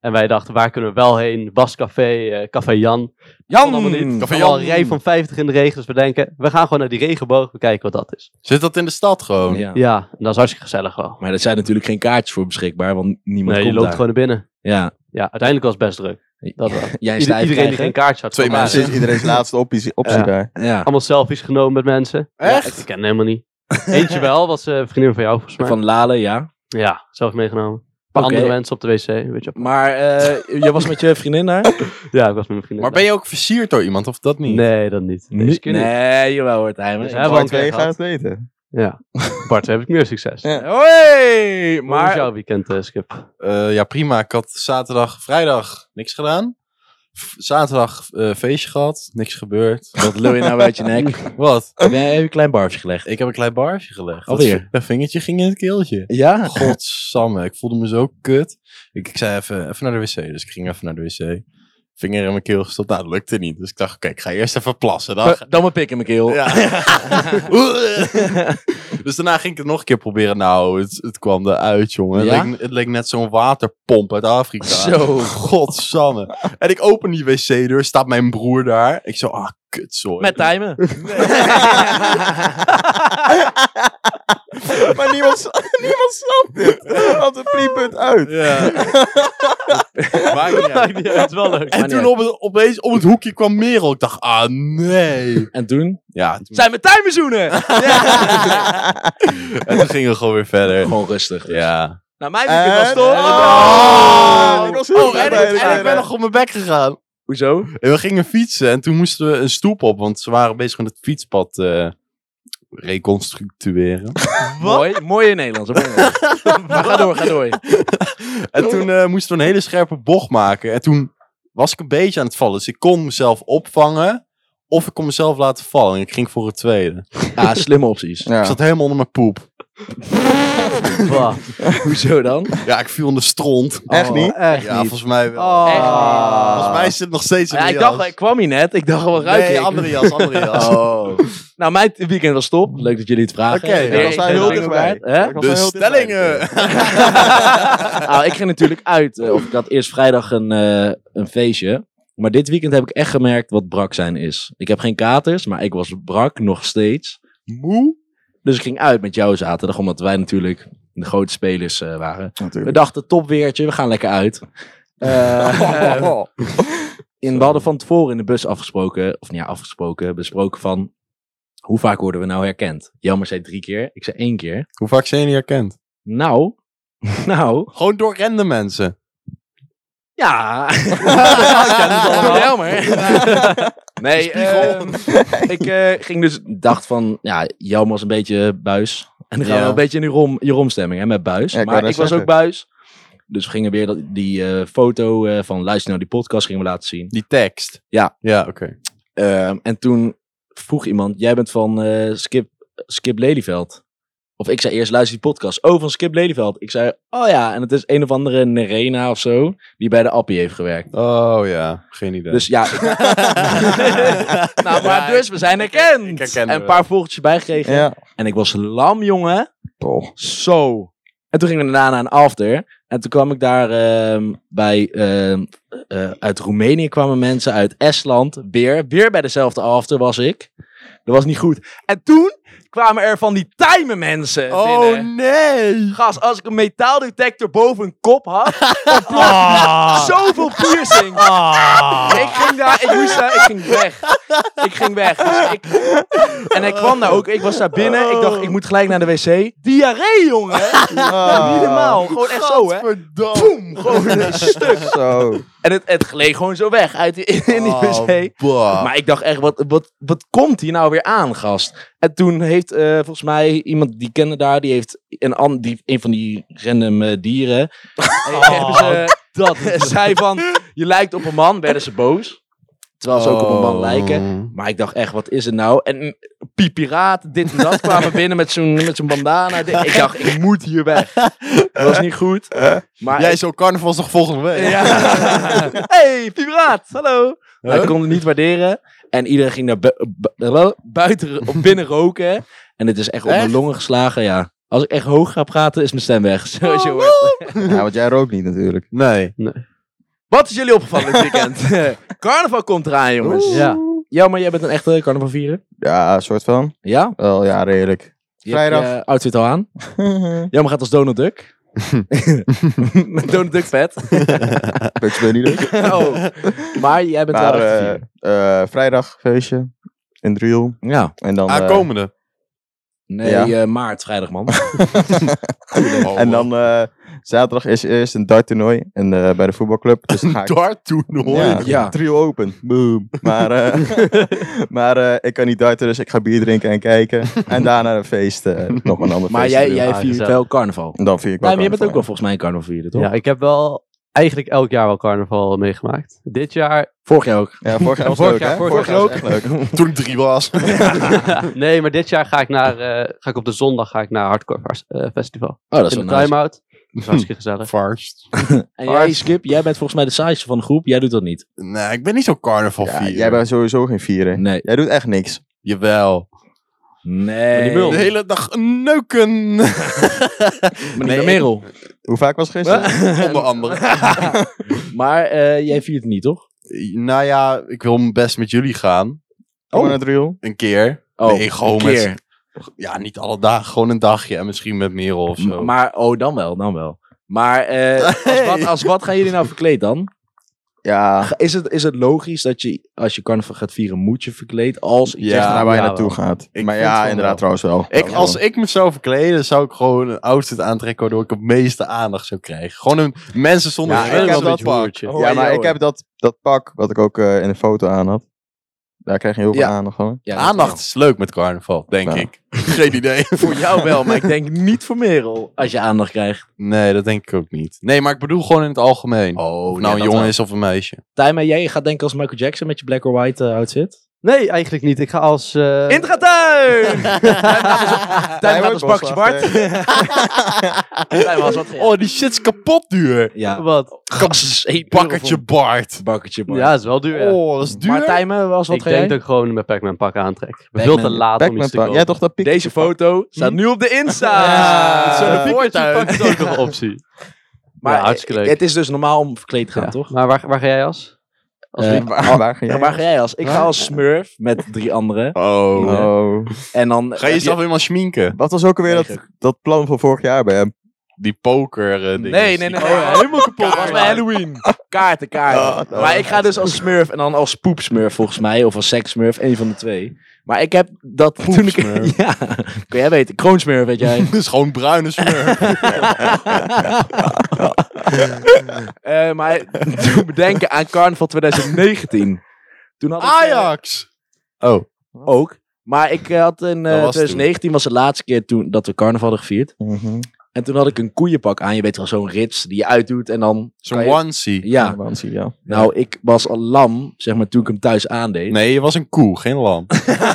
[SPEAKER 4] En wij dachten, waar kunnen we wel heen? Bascafé, eh, Café Jan.
[SPEAKER 2] Jan!
[SPEAKER 4] Kon allemaal niet.
[SPEAKER 1] Café
[SPEAKER 4] Allemaal
[SPEAKER 1] Jan.
[SPEAKER 4] een rij van 50 in de regen. Dus we denken, we gaan gewoon naar die regenboog. We kijken wat dat is.
[SPEAKER 1] Zit dat in de stad gewoon?
[SPEAKER 2] Ja.
[SPEAKER 4] Ja, en dat is hartstikke gezellig wel.
[SPEAKER 2] Maar er zijn natuurlijk geen kaartjes voor beschikbaar, want niemand
[SPEAKER 4] Nee, je
[SPEAKER 2] komt
[SPEAKER 4] loopt
[SPEAKER 2] daar.
[SPEAKER 4] gewoon naar binnen.
[SPEAKER 2] Ja.
[SPEAKER 4] Ja, uiteindelijk was het best druk. Dat wel.
[SPEAKER 2] Jij
[SPEAKER 4] Ieder-
[SPEAKER 2] stijf
[SPEAKER 4] iedereen die
[SPEAKER 2] krijgen.
[SPEAKER 4] geen kaartje had.
[SPEAKER 1] Twee
[SPEAKER 4] kwam daar.
[SPEAKER 3] Dus is iedereen's laatste optie, optie
[SPEAKER 4] Ja.
[SPEAKER 3] daar.
[SPEAKER 2] Ja.
[SPEAKER 4] Allemaal selfies genomen met mensen.
[SPEAKER 1] Echt?
[SPEAKER 4] Ik ken hem helemaal niet. Eentje wel, was eh, een vriendin van jou volgens mij.
[SPEAKER 2] Van Lale, ja.
[SPEAKER 4] Ja, zelf meegenomen. paar
[SPEAKER 2] Oké.
[SPEAKER 4] andere mensen op de wc. Weet je. wel.
[SPEAKER 2] Maar eh, je was met je vriendin daar?
[SPEAKER 4] Ja, ik was met mijn vriendin.
[SPEAKER 1] Maar ben je ook versierd door iemand of dat niet?
[SPEAKER 4] Nee, dat niet.
[SPEAKER 3] Nee.
[SPEAKER 4] Deze keer niet.
[SPEAKER 2] Nee, jawel hoor, Tijmen.
[SPEAKER 4] Dus
[SPEAKER 2] Ja.
[SPEAKER 4] hebben
[SPEAKER 3] Alle
[SPEAKER 4] we al twee
[SPEAKER 3] twee gaan
[SPEAKER 4] gehad.
[SPEAKER 3] het weten.
[SPEAKER 4] Ja. Bart, heb ik meer succes.
[SPEAKER 3] Ja.
[SPEAKER 2] Hoi!
[SPEAKER 4] Maar... Hoe was
[SPEAKER 2] Maar
[SPEAKER 4] jouw weekend, eh, Skip?
[SPEAKER 1] Eh, ja, prima. Ik had zaterdag, vrijdag niks gedaan. V- Zaterdag eh, feestje gehad, niks gebeurd.
[SPEAKER 2] wat lul je nou uit je nek?
[SPEAKER 1] Wat?
[SPEAKER 2] Nee, heb je een klein barfje gelegd.
[SPEAKER 1] Ik heb een klein barsje gelegd.
[SPEAKER 2] Alweer?
[SPEAKER 1] Dat- Dat vingertje ging in het keeltje.
[SPEAKER 2] Ja?
[SPEAKER 1] Godsamme, ik voelde me zo kut. Ik, ik zei even, even naar de wc, dus ik ging even naar de wc. Vinger in mijn keel gestopt, nou dat lukte niet. Dus ik dacht, oké, ik ga eerst even plassen. Dan
[SPEAKER 2] Dan mijn pik in mijn keel.
[SPEAKER 1] Ja. dus daarna ging ik het nog een keer proberen. Nou, het, het kwam eruit, jongen.
[SPEAKER 2] Ja?
[SPEAKER 1] Het, leek, het leek net zo'n waterpomp uit Afrika.
[SPEAKER 2] Zo.
[SPEAKER 1] Godsamme. En ik open die wc-deur, staat mijn broer daar. Ik zo, ah, kut, sorry.
[SPEAKER 2] Met Tijmen.
[SPEAKER 3] maar niemand, s- niemand snapt dit. Want het priepunt uit.
[SPEAKER 1] Ja. Maakt niet uit.
[SPEAKER 4] het is wel leuk.
[SPEAKER 1] En toen op het, opeens om het hoekje kwam Merel. Ik dacht, ah, nee.
[SPEAKER 2] En toen?
[SPEAKER 1] Ja, toen-
[SPEAKER 2] Zijn we Tijmen zoenen?
[SPEAKER 1] en toen gingen we gewoon weer verder.
[SPEAKER 2] Gewoon rustig.
[SPEAKER 1] Ja.
[SPEAKER 2] Nou, mijn weekend was
[SPEAKER 3] En-
[SPEAKER 2] toch?
[SPEAKER 1] Oh!
[SPEAKER 3] Ik was heel
[SPEAKER 1] Oh, en,
[SPEAKER 3] blij
[SPEAKER 1] ik,
[SPEAKER 3] dat
[SPEAKER 1] en
[SPEAKER 3] jij
[SPEAKER 1] ik ben
[SPEAKER 3] er-
[SPEAKER 1] nog op mijn bek gegaan.
[SPEAKER 2] Hoezo?
[SPEAKER 1] En we gingen fietsen en toen moesten we een stoep op, want ze waren bezig met het fietspad eh, reconstructueren.
[SPEAKER 2] Mooi, mooi in Nederlands. hoor. maar ga door, ga door.
[SPEAKER 1] en toen eh, moesten we een hele scherpe bocht maken. En toen was ik een beetje aan het vallen, dus ik kon mezelf opvangen of ik kon mezelf laten vallen. En ik ging voor het tweede.
[SPEAKER 2] Ah, slimme opties.
[SPEAKER 1] Ik
[SPEAKER 3] Ja.
[SPEAKER 1] zat helemaal onder mijn poep.
[SPEAKER 4] Wow.
[SPEAKER 2] Hoezo dan?
[SPEAKER 1] Ja, ik viel onder stront.
[SPEAKER 3] Echt
[SPEAKER 2] Oh,
[SPEAKER 3] niet?
[SPEAKER 2] Echt
[SPEAKER 1] ja,
[SPEAKER 2] niet.
[SPEAKER 1] volgens mij wel.
[SPEAKER 2] Echt niet.
[SPEAKER 1] Volgens mij zit het nog steeds in
[SPEAKER 2] Ja,
[SPEAKER 1] de
[SPEAKER 2] ik,
[SPEAKER 1] jas.
[SPEAKER 2] dacht, ik kwam hier net. Ik dacht, wel ruiken.
[SPEAKER 1] Nee, andere jas, andere jas.
[SPEAKER 3] Oh.
[SPEAKER 2] Nou, mijn weekend was top. Leuk dat jullie het vragen.
[SPEAKER 1] Oké, dat
[SPEAKER 2] Ik ben-
[SPEAKER 1] was
[SPEAKER 2] ik
[SPEAKER 1] hij
[SPEAKER 2] ben
[SPEAKER 1] heel
[SPEAKER 2] er
[SPEAKER 3] dichtbij.
[SPEAKER 2] ook bij. Hè?
[SPEAKER 3] Ik was
[SPEAKER 1] De
[SPEAKER 3] wel heel dichtbij.
[SPEAKER 1] stellingen!
[SPEAKER 2] Nou, ik ging natuurlijk uit. eh, Of ik had eerst vrijdag een, eh, een feestje. Maar dit weekend heb ik echt gemerkt wat brak zijn is. Ik heb geen katers, maar ik was brak nog steeds.
[SPEAKER 1] Moe?
[SPEAKER 2] Dus ik ging uit met jou zaterdag, omdat wij natuurlijk de grote spelers eh, waren. We
[SPEAKER 3] Natuurlijk.
[SPEAKER 2] dachten, topweertje, we gaan lekker uit. Eh, in, we hadden van tevoren in de bus afgesproken, of niet ja, afgesproken, besproken van... Hoe vaak worden we nou herkend? Jammer zei drie keer, ik zei één keer.
[SPEAKER 1] Hoe vaak zijn jullie herkend?
[SPEAKER 2] Nou, nou,
[SPEAKER 1] Gewoon door rende mensen.
[SPEAKER 2] ja.
[SPEAKER 1] Door
[SPEAKER 2] Nee,
[SPEAKER 1] Spiegel.
[SPEAKER 2] ehm, ik eh, ging dus, dacht van, ja, Jelmer was een beetje buis. En dan gaan
[SPEAKER 1] Ja.
[SPEAKER 2] we wel een beetje in die rom, Jeroen stemming hè, met buis.
[SPEAKER 3] Ja, ik wou
[SPEAKER 2] maar ik
[SPEAKER 3] net
[SPEAKER 2] was
[SPEAKER 3] zeggen.
[SPEAKER 2] ook buis. Dus we gingen weer dat, die eh, foto eh, van luister naar die podcast gingen we laten zien.
[SPEAKER 1] Die tekst.
[SPEAKER 2] Ja.
[SPEAKER 1] Ja, oké.
[SPEAKER 2] Ehm, en toen vroeg iemand, jij bent van eh, Skip, Skip Lelyveld. Of ik zei eerst, luister die podcast. Oh, van Skip Lelyveld. Ik zei, oh ja, en het is een of andere Nerena of zo, die bij de Appie heeft gewerkt.
[SPEAKER 1] Oh ja, geen idee.
[SPEAKER 2] Dus ja, nou, maar
[SPEAKER 1] Ja,
[SPEAKER 2] dus we zijn herkend.
[SPEAKER 1] ik herkende
[SPEAKER 2] en een
[SPEAKER 1] wel.
[SPEAKER 2] paar vogeltjes bijgekregen.
[SPEAKER 3] Ja.
[SPEAKER 2] En ik was lam, jongen.
[SPEAKER 3] Toch.
[SPEAKER 2] Zo. En toen gingen we daarna naar een after. En toen kwam ik daar ehm, bij... ehm, eh, uit Roemenië kwamen mensen, uit Estland. Weer, weer bij dezelfde after was ik. Dat was niet goed. En toen kwamen er van die timen mensen
[SPEAKER 1] oh
[SPEAKER 2] binnen.
[SPEAKER 1] nee!
[SPEAKER 2] Gast, als ik een metaaldetector boven een kop had, Ah. zoveel piercing. Ik ging daar, ik moest daar, ik ging weg. Ik ging weg. Dus ik, en hij kwam daar ook, ik was daar binnen, ik dacht, ik moet gelijk naar de wc. Diarree, jongen!
[SPEAKER 3] Ah.
[SPEAKER 2] Niet normaal, gewoon echt zo, hè?
[SPEAKER 1] Boom!
[SPEAKER 2] Gewoon een stuk.
[SPEAKER 3] Zo.
[SPEAKER 2] En het, het gleed gewoon zo weg uit die, in die wc.
[SPEAKER 1] Oh, Ah.
[SPEAKER 2] Maar ik dacht echt, wat, wat, wat komt hier nou weer aan, gast? En toen heeft eh, volgens mij iemand die kende daar, die heeft een, an, die, een van die random eh, dieren. hebben ze, dat zei van, je lijkt op een man, werden ze boos. Terwijl ze ook op een
[SPEAKER 1] Oh.
[SPEAKER 2] man lijken. Maar ik dacht echt, wat is het nou? En mm, piepiraat, dit en dat kwamen binnen met zo'n met zo'n bandana. Dit- Ik dacht, ik moet hier weg. Dat was niet goed. Maar
[SPEAKER 1] Jij zo carnaval nog volgende week.
[SPEAKER 2] ja. hey, piepiraat, hallo. Hij
[SPEAKER 1] Huh?
[SPEAKER 2] kon het niet waarderen. En iedereen ging naar bu- bu- buiten of binnen roken. En het is echt op mijn
[SPEAKER 1] Echt?
[SPEAKER 2] longen geslagen, ja. Als ik echt hoog ga praten, is mijn stem weg. Zoals je hoort.
[SPEAKER 3] Ja, want jij rookt niet natuurlijk.
[SPEAKER 1] Nee.
[SPEAKER 2] Wat is jullie opgevallen dit weekend? Carnaval komt eraan, jongens.
[SPEAKER 4] Oeh. Ja.
[SPEAKER 2] Ja, maar jij bent een echte carnaval vieren.
[SPEAKER 3] Ja, soort van.
[SPEAKER 2] Ja?
[SPEAKER 3] Wel, ja, redelijk.
[SPEAKER 2] Je hebt je,
[SPEAKER 3] Vrijdag.
[SPEAKER 2] eh, outfit al aan. Jammer gaat als Donald Duck. Met Donald Duck vet.
[SPEAKER 3] Beetje beneden.
[SPEAKER 2] oh. Maar jij bent
[SPEAKER 3] Maar
[SPEAKER 2] wel echt een
[SPEAKER 3] eh,
[SPEAKER 2] vier.
[SPEAKER 3] eh, vrijdag feestje in Driel.
[SPEAKER 2] Ja.
[SPEAKER 1] Ah,
[SPEAKER 3] En dan... eh,
[SPEAKER 1] Aankomende.
[SPEAKER 2] Nee,
[SPEAKER 3] Ja.
[SPEAKER 2] eh, maart, vrijdag, man. Oh.
[SPEAKER 3] en dan eh, zaterdag is eerst een darttoernooi en, eh, bij de voetbalclub. Dus dan ga ik
[SPEAKER 1] Dart toernooi.
[SPEAKER 3] Ja,
[SPEAKER 2] Ja.
[SPEAKER 3] trio open. Boom. Maar, eh, maar eh, ik kan niet darten, dus ik ga bier drinken en kijken. En daarna een feest. eh, nog een ander
[SPEAKER 2] maar
[SPEAKER 3] feest.
[SPEAKER 2] jij,
[SPEAKER 3] te
[SPEAKER 2] jij
[SPEAKER 3] doen.
[SPEAKER 4] Ah,
[SPEAKER 2] viert
[SPEAKER 4] gezellig.
[SPEAKER 2] wel carnaval.
[SPEAKER 3] En dan vind ik wel
[SPEAKER 2] Nee, maar je bent ook wel
[SPEAKER 3] carnaval,
[SPEAKER 2] volgens mij een carnaval vieren, toch?
[SPEAKER 4] Ja, ik heb wel eigenlijk elk jaar wel carnaval meegemaakt. Dit jaar...
[SPEAKER 2] Vorig jaar ook.
[SPEAKER 3] ja. Ja, vorig jaar was het
[SPEAKER 4] Vorig
[SPEAKER 3] leuk,
[SPEAKER 4] jaar-
[SPEAKER 3] hè?
[SPEAKER 4] vorig
[SPEAKER 3] Vorig
[SPEAKER 4] jaar
[SPEAKER 3] jaar was
[SPEAKER 4] ook.
[SPEAKER 3] het echt leuk.
[SPEAKER 1] Toen ik drie was.
[SPEAKER 4] nee, maar dit jaar ga ik, naar, eh, ga ik op de zondag ga ik naar Hardcore Fars- eh, Festival.
[SPEAKER 2] Oh, dat is
[SPEAKER 4] in
[SPEAKER 2] wel
[SPEAKER 4] de
[SPEAKER 2] nice.
[SPEAKER 4] time-out. Dat is hartstikke gezellig.
[SPEAKER 1] Varst.
[SPEAKER 2] En jij, Skip, jij bent volgens mij de saaiste van de groep. Jij doet dat niet.
[SPEAKER 1] Nee, ik ben niet zo carnaval
[SPEAKER 3] Ja,
[SPEAKER 1] vieren.
[SPEAKER 3] jij bent sowieso geen vieren.
[SPEAKER 2] Nee.
[SPEAKER 3] Jij doet echt niks.
[SPEAKER 1] Jawel.
[SPEAKER 2] Nee.
[SPEAKER 4] mul.
[SPEAKER 1] De hele dag neuken.
[SPEAKER 2] Maar niet bij Merel.
[SPEAKER 3] Hoe vaak was het gisteren?
[SPEAKER 1] Onder andere.
[SPEAKER 2] Maar eh, jij viert het niet, toch?
[SPEAKER 1] nou ja, ik wil best met jullie gaan.
[SPEAKER 3] Kom maar naar het riool.
[SPEAKER 1] Een keer.
[SPEAKER 2] Oh,
[SPEAKER 1] nee, gewoon
[SPEAKER 2] een
[SPEAKER 1] met-
[SPEAKER 2] keer.
[SPEAKER 1] Ja, niet alle dagen. Gewoon een dagje. En misschien met Merel of zo.
[SPEAKER 2] M- Maar, oh, dan wel, dan wel. Maar eh,
[SPEAKER 1] Hey.
[SPEAKER 2] als, wat, als wat gaan jullie nou verkleed dan?
[SPEAKER 3] Ja,
[SPEAKER 2] Ga- Is het, is het logisch dat je, als je carnaval gaat vieren, moet je verkleed als iets?
[SPEAKER 1] Ja,
[SPEAKER 3] echt naar waar je
[SPEAKER 4] ja,
[SPEAKER 3] naartoe
[SPEAKER 4] wel.
[SPEAKER 3] gaat.
[SPEAKER 1] Ik
[SPEAKER 3] maar
[SPEAKER 1] vind
[SPEAKER 3] ja,
[SPEAKER 1] van
[SPEAKER 3] inderdaad trouwens wel.
[SPEAKER 1] ik,
[SPEAKER 2] Oh.
[SPEAKER 3] Ja,
[SPEAKER 1] als
[SPEAKER 3] wel.
[SPEAKER 1] ik me zou verkleden, zou ik gewoon een outfit aantrekken waardoor ik het meeste aandacht zou krijgen. Gewoon een mensen zonder
[SPEAKER 3] Ja,
[SPEAKER 1] schil,
[SPEAKER 3] ik heb
[SPEAKER 1] want
[SPEAKER 3] dat
[SPEAKER 1] je hoort je.
[SPEAKER 2] Oh,
[SPEAKER 3] ja,
[SPEAKER 2] en
[SPEAKER 3] maar
[SPEAKER 2] jou,
[SPEAKER 3] ik heb dat, dat pak wat ik ook eh, in de foto aan had. Daar krijg je heel veel
[SPEAKER 1] Ja.
[SPEAKER 3] aandacht van.
[SPEAKER 2] Ja, dat
[SPEAKER 1] Aandacht is leuk met carnaval, denk
[SPEAKER 3] Ja.
[SPEAKER 1] ik. Geen idee.
[SPEAKER 2] wel. Voor jou wel, maar ik denk niet voor Merel als je aandacht krijgt.
[SPEAKER 1] Nee, dat denk ik ook niet. Nee, maar ik bedoel gewoon in het algemeen.
[SPEAKER 2] Oh,
[SPEAKER 1] of nou een jongen is of een meisje.
[SPEAKER 2] Tijma, jij gaat denken als Michael Jackson met je black or white eh, outfit.
[SPEAKER 4] Nee, eigenlijk niet. Ik ga als... eh,
[SPEAKER 2] Intratuin! Tijma gaat als
[SPEAKER 3] wordt
[SPEAKER 2] bakje Bart.
[SPEAKER 3] boswachter.
[SPEAKER 2] Tijma was wat.
[SPEAKER 1] Oh, die shit is kapot duur.
[SPEAKER 2] Ja,
[SPEAKER 4] Wat?
[SPEAKER 2] gas.
[SPEAKER 1] Bakkertje Bart.
[SPEAKER 2] Bakkertje,
[SPEAKER 4] Ja, dat is wel duur. ja.
[SPEAKER 1] Oh, dat is duur.
[SPEAKER 2] Maar Tijmen was wat
[SPEAKER 4] ik denk dat ik gewoon mijn Pac-Man pak aantrek. Ik ben
[SPEAKER 2] Pac-Man-
[SPEAKER 4] veel te laat om
[SPEAKER 3] Pac-Man
[SPEAKER 4] iets te
[SPEAKER 3] pak.
[SPEAKER 4] kopen.
[SPEAKER 3] Jij toch dat pik?
[SPEAKER 2] Deze foto Hm? staat nu op de Insta.
[SPEAKER 3] Ja.
[SPEAKER 4] Eh,
[SPEAKER 2] Met
[SPEAKER 3] Zo'n
[SPEAKER 2] Zo'n voortuin.
[SPEAKER 4] Dat is ook nog een optie.
[SPEAKER 2] Maar
[SPEAKER 4] Ja, hartstikke leuk.
[SPEAKER 2] Het is dus normaal om verkleed te gaan,
[SPEAKER 4] Ja.
[SPEAKER 2] toch?
[SPEAKER 4] Maar waar, waar ga jij als?
[SPEAKER 2] Eh,
[SPEAKER 3] Waar- waar, Ah, waar ga jij?
[SPEAKER 2] Ja, waar ga jij als? Ik ga als Smurf met drie anderen.
[SPEAKER 1] Oh.
[SPEAKER 3] Oh.
[SPEAKER 2] En dan
[SPEAKER 1] Ga je jezelf helemaal schminken?
[SPEAKER 3] Wat was ook alweer dat, dat plan van vorig jaar bij hem?
[SPEAKER 1] Die poker eh, dingen.
[SPEAKER 2] Nee, nee, nee.
[SPEAKER 1] Oh, ja.
[SPEAKER 2] Helemaal kapot.
[SPEAKER 1] Kaarten.
[SPEAKER 2] Volgens mij Halloween. Kaarten,
[SPEAKER 1] Oh,
[SPEAKER 2] kaarten.
[SPEAKER 3] Ja,
[SPEAKER 2] maar
[SPEAKER 3] ja.
[SPEAKER 2] ik ga dus als smurf en dan als poepsmurf volgens mij. Of als sekssmurf, één van de twee. Maar ik heb dat toen ik...
[SPEAKER 1] Poepsmurf.
[SPEAKER 2] Ja, kun jij weten. Kroonsmurf, weet jij.
[SPEAKER 1] Dat is gewoon bruine smurf.
[SPEAKER 2] Eh, maar toen bedenken aan carnaval 2019. Toen had ik... eh,
[SPEAKER 1] Ajax. Oh.
[SPEAKER 2] ook. Maar ik eh, had in eh,
[SPEAKER 1] Dat was
[SPEAKER 2] 2019 was de laatste keer toen, dat we carnaval hadden gevierd.
[SPEAKER 3] Mhm.
[SPEAKER 2] En toen had ik een koeienpak aan. Je weet wel, zo'n rits die je uitdoet en dan...
[SPEAKER 1] Zo'n
[SPEAKER 2] kan je-
[SPEAKER 1] onesie.
[SPEAKER 2] Ja,
[SPEAKER 3] Ja, Oh. want zie je wel.
[SPEAKER 2] Nou, ik was al lam, zeg maar, toen ik hem thuis aandeed.
[SPEAKER 1] Nee, je was een koe, geen lam. Nou.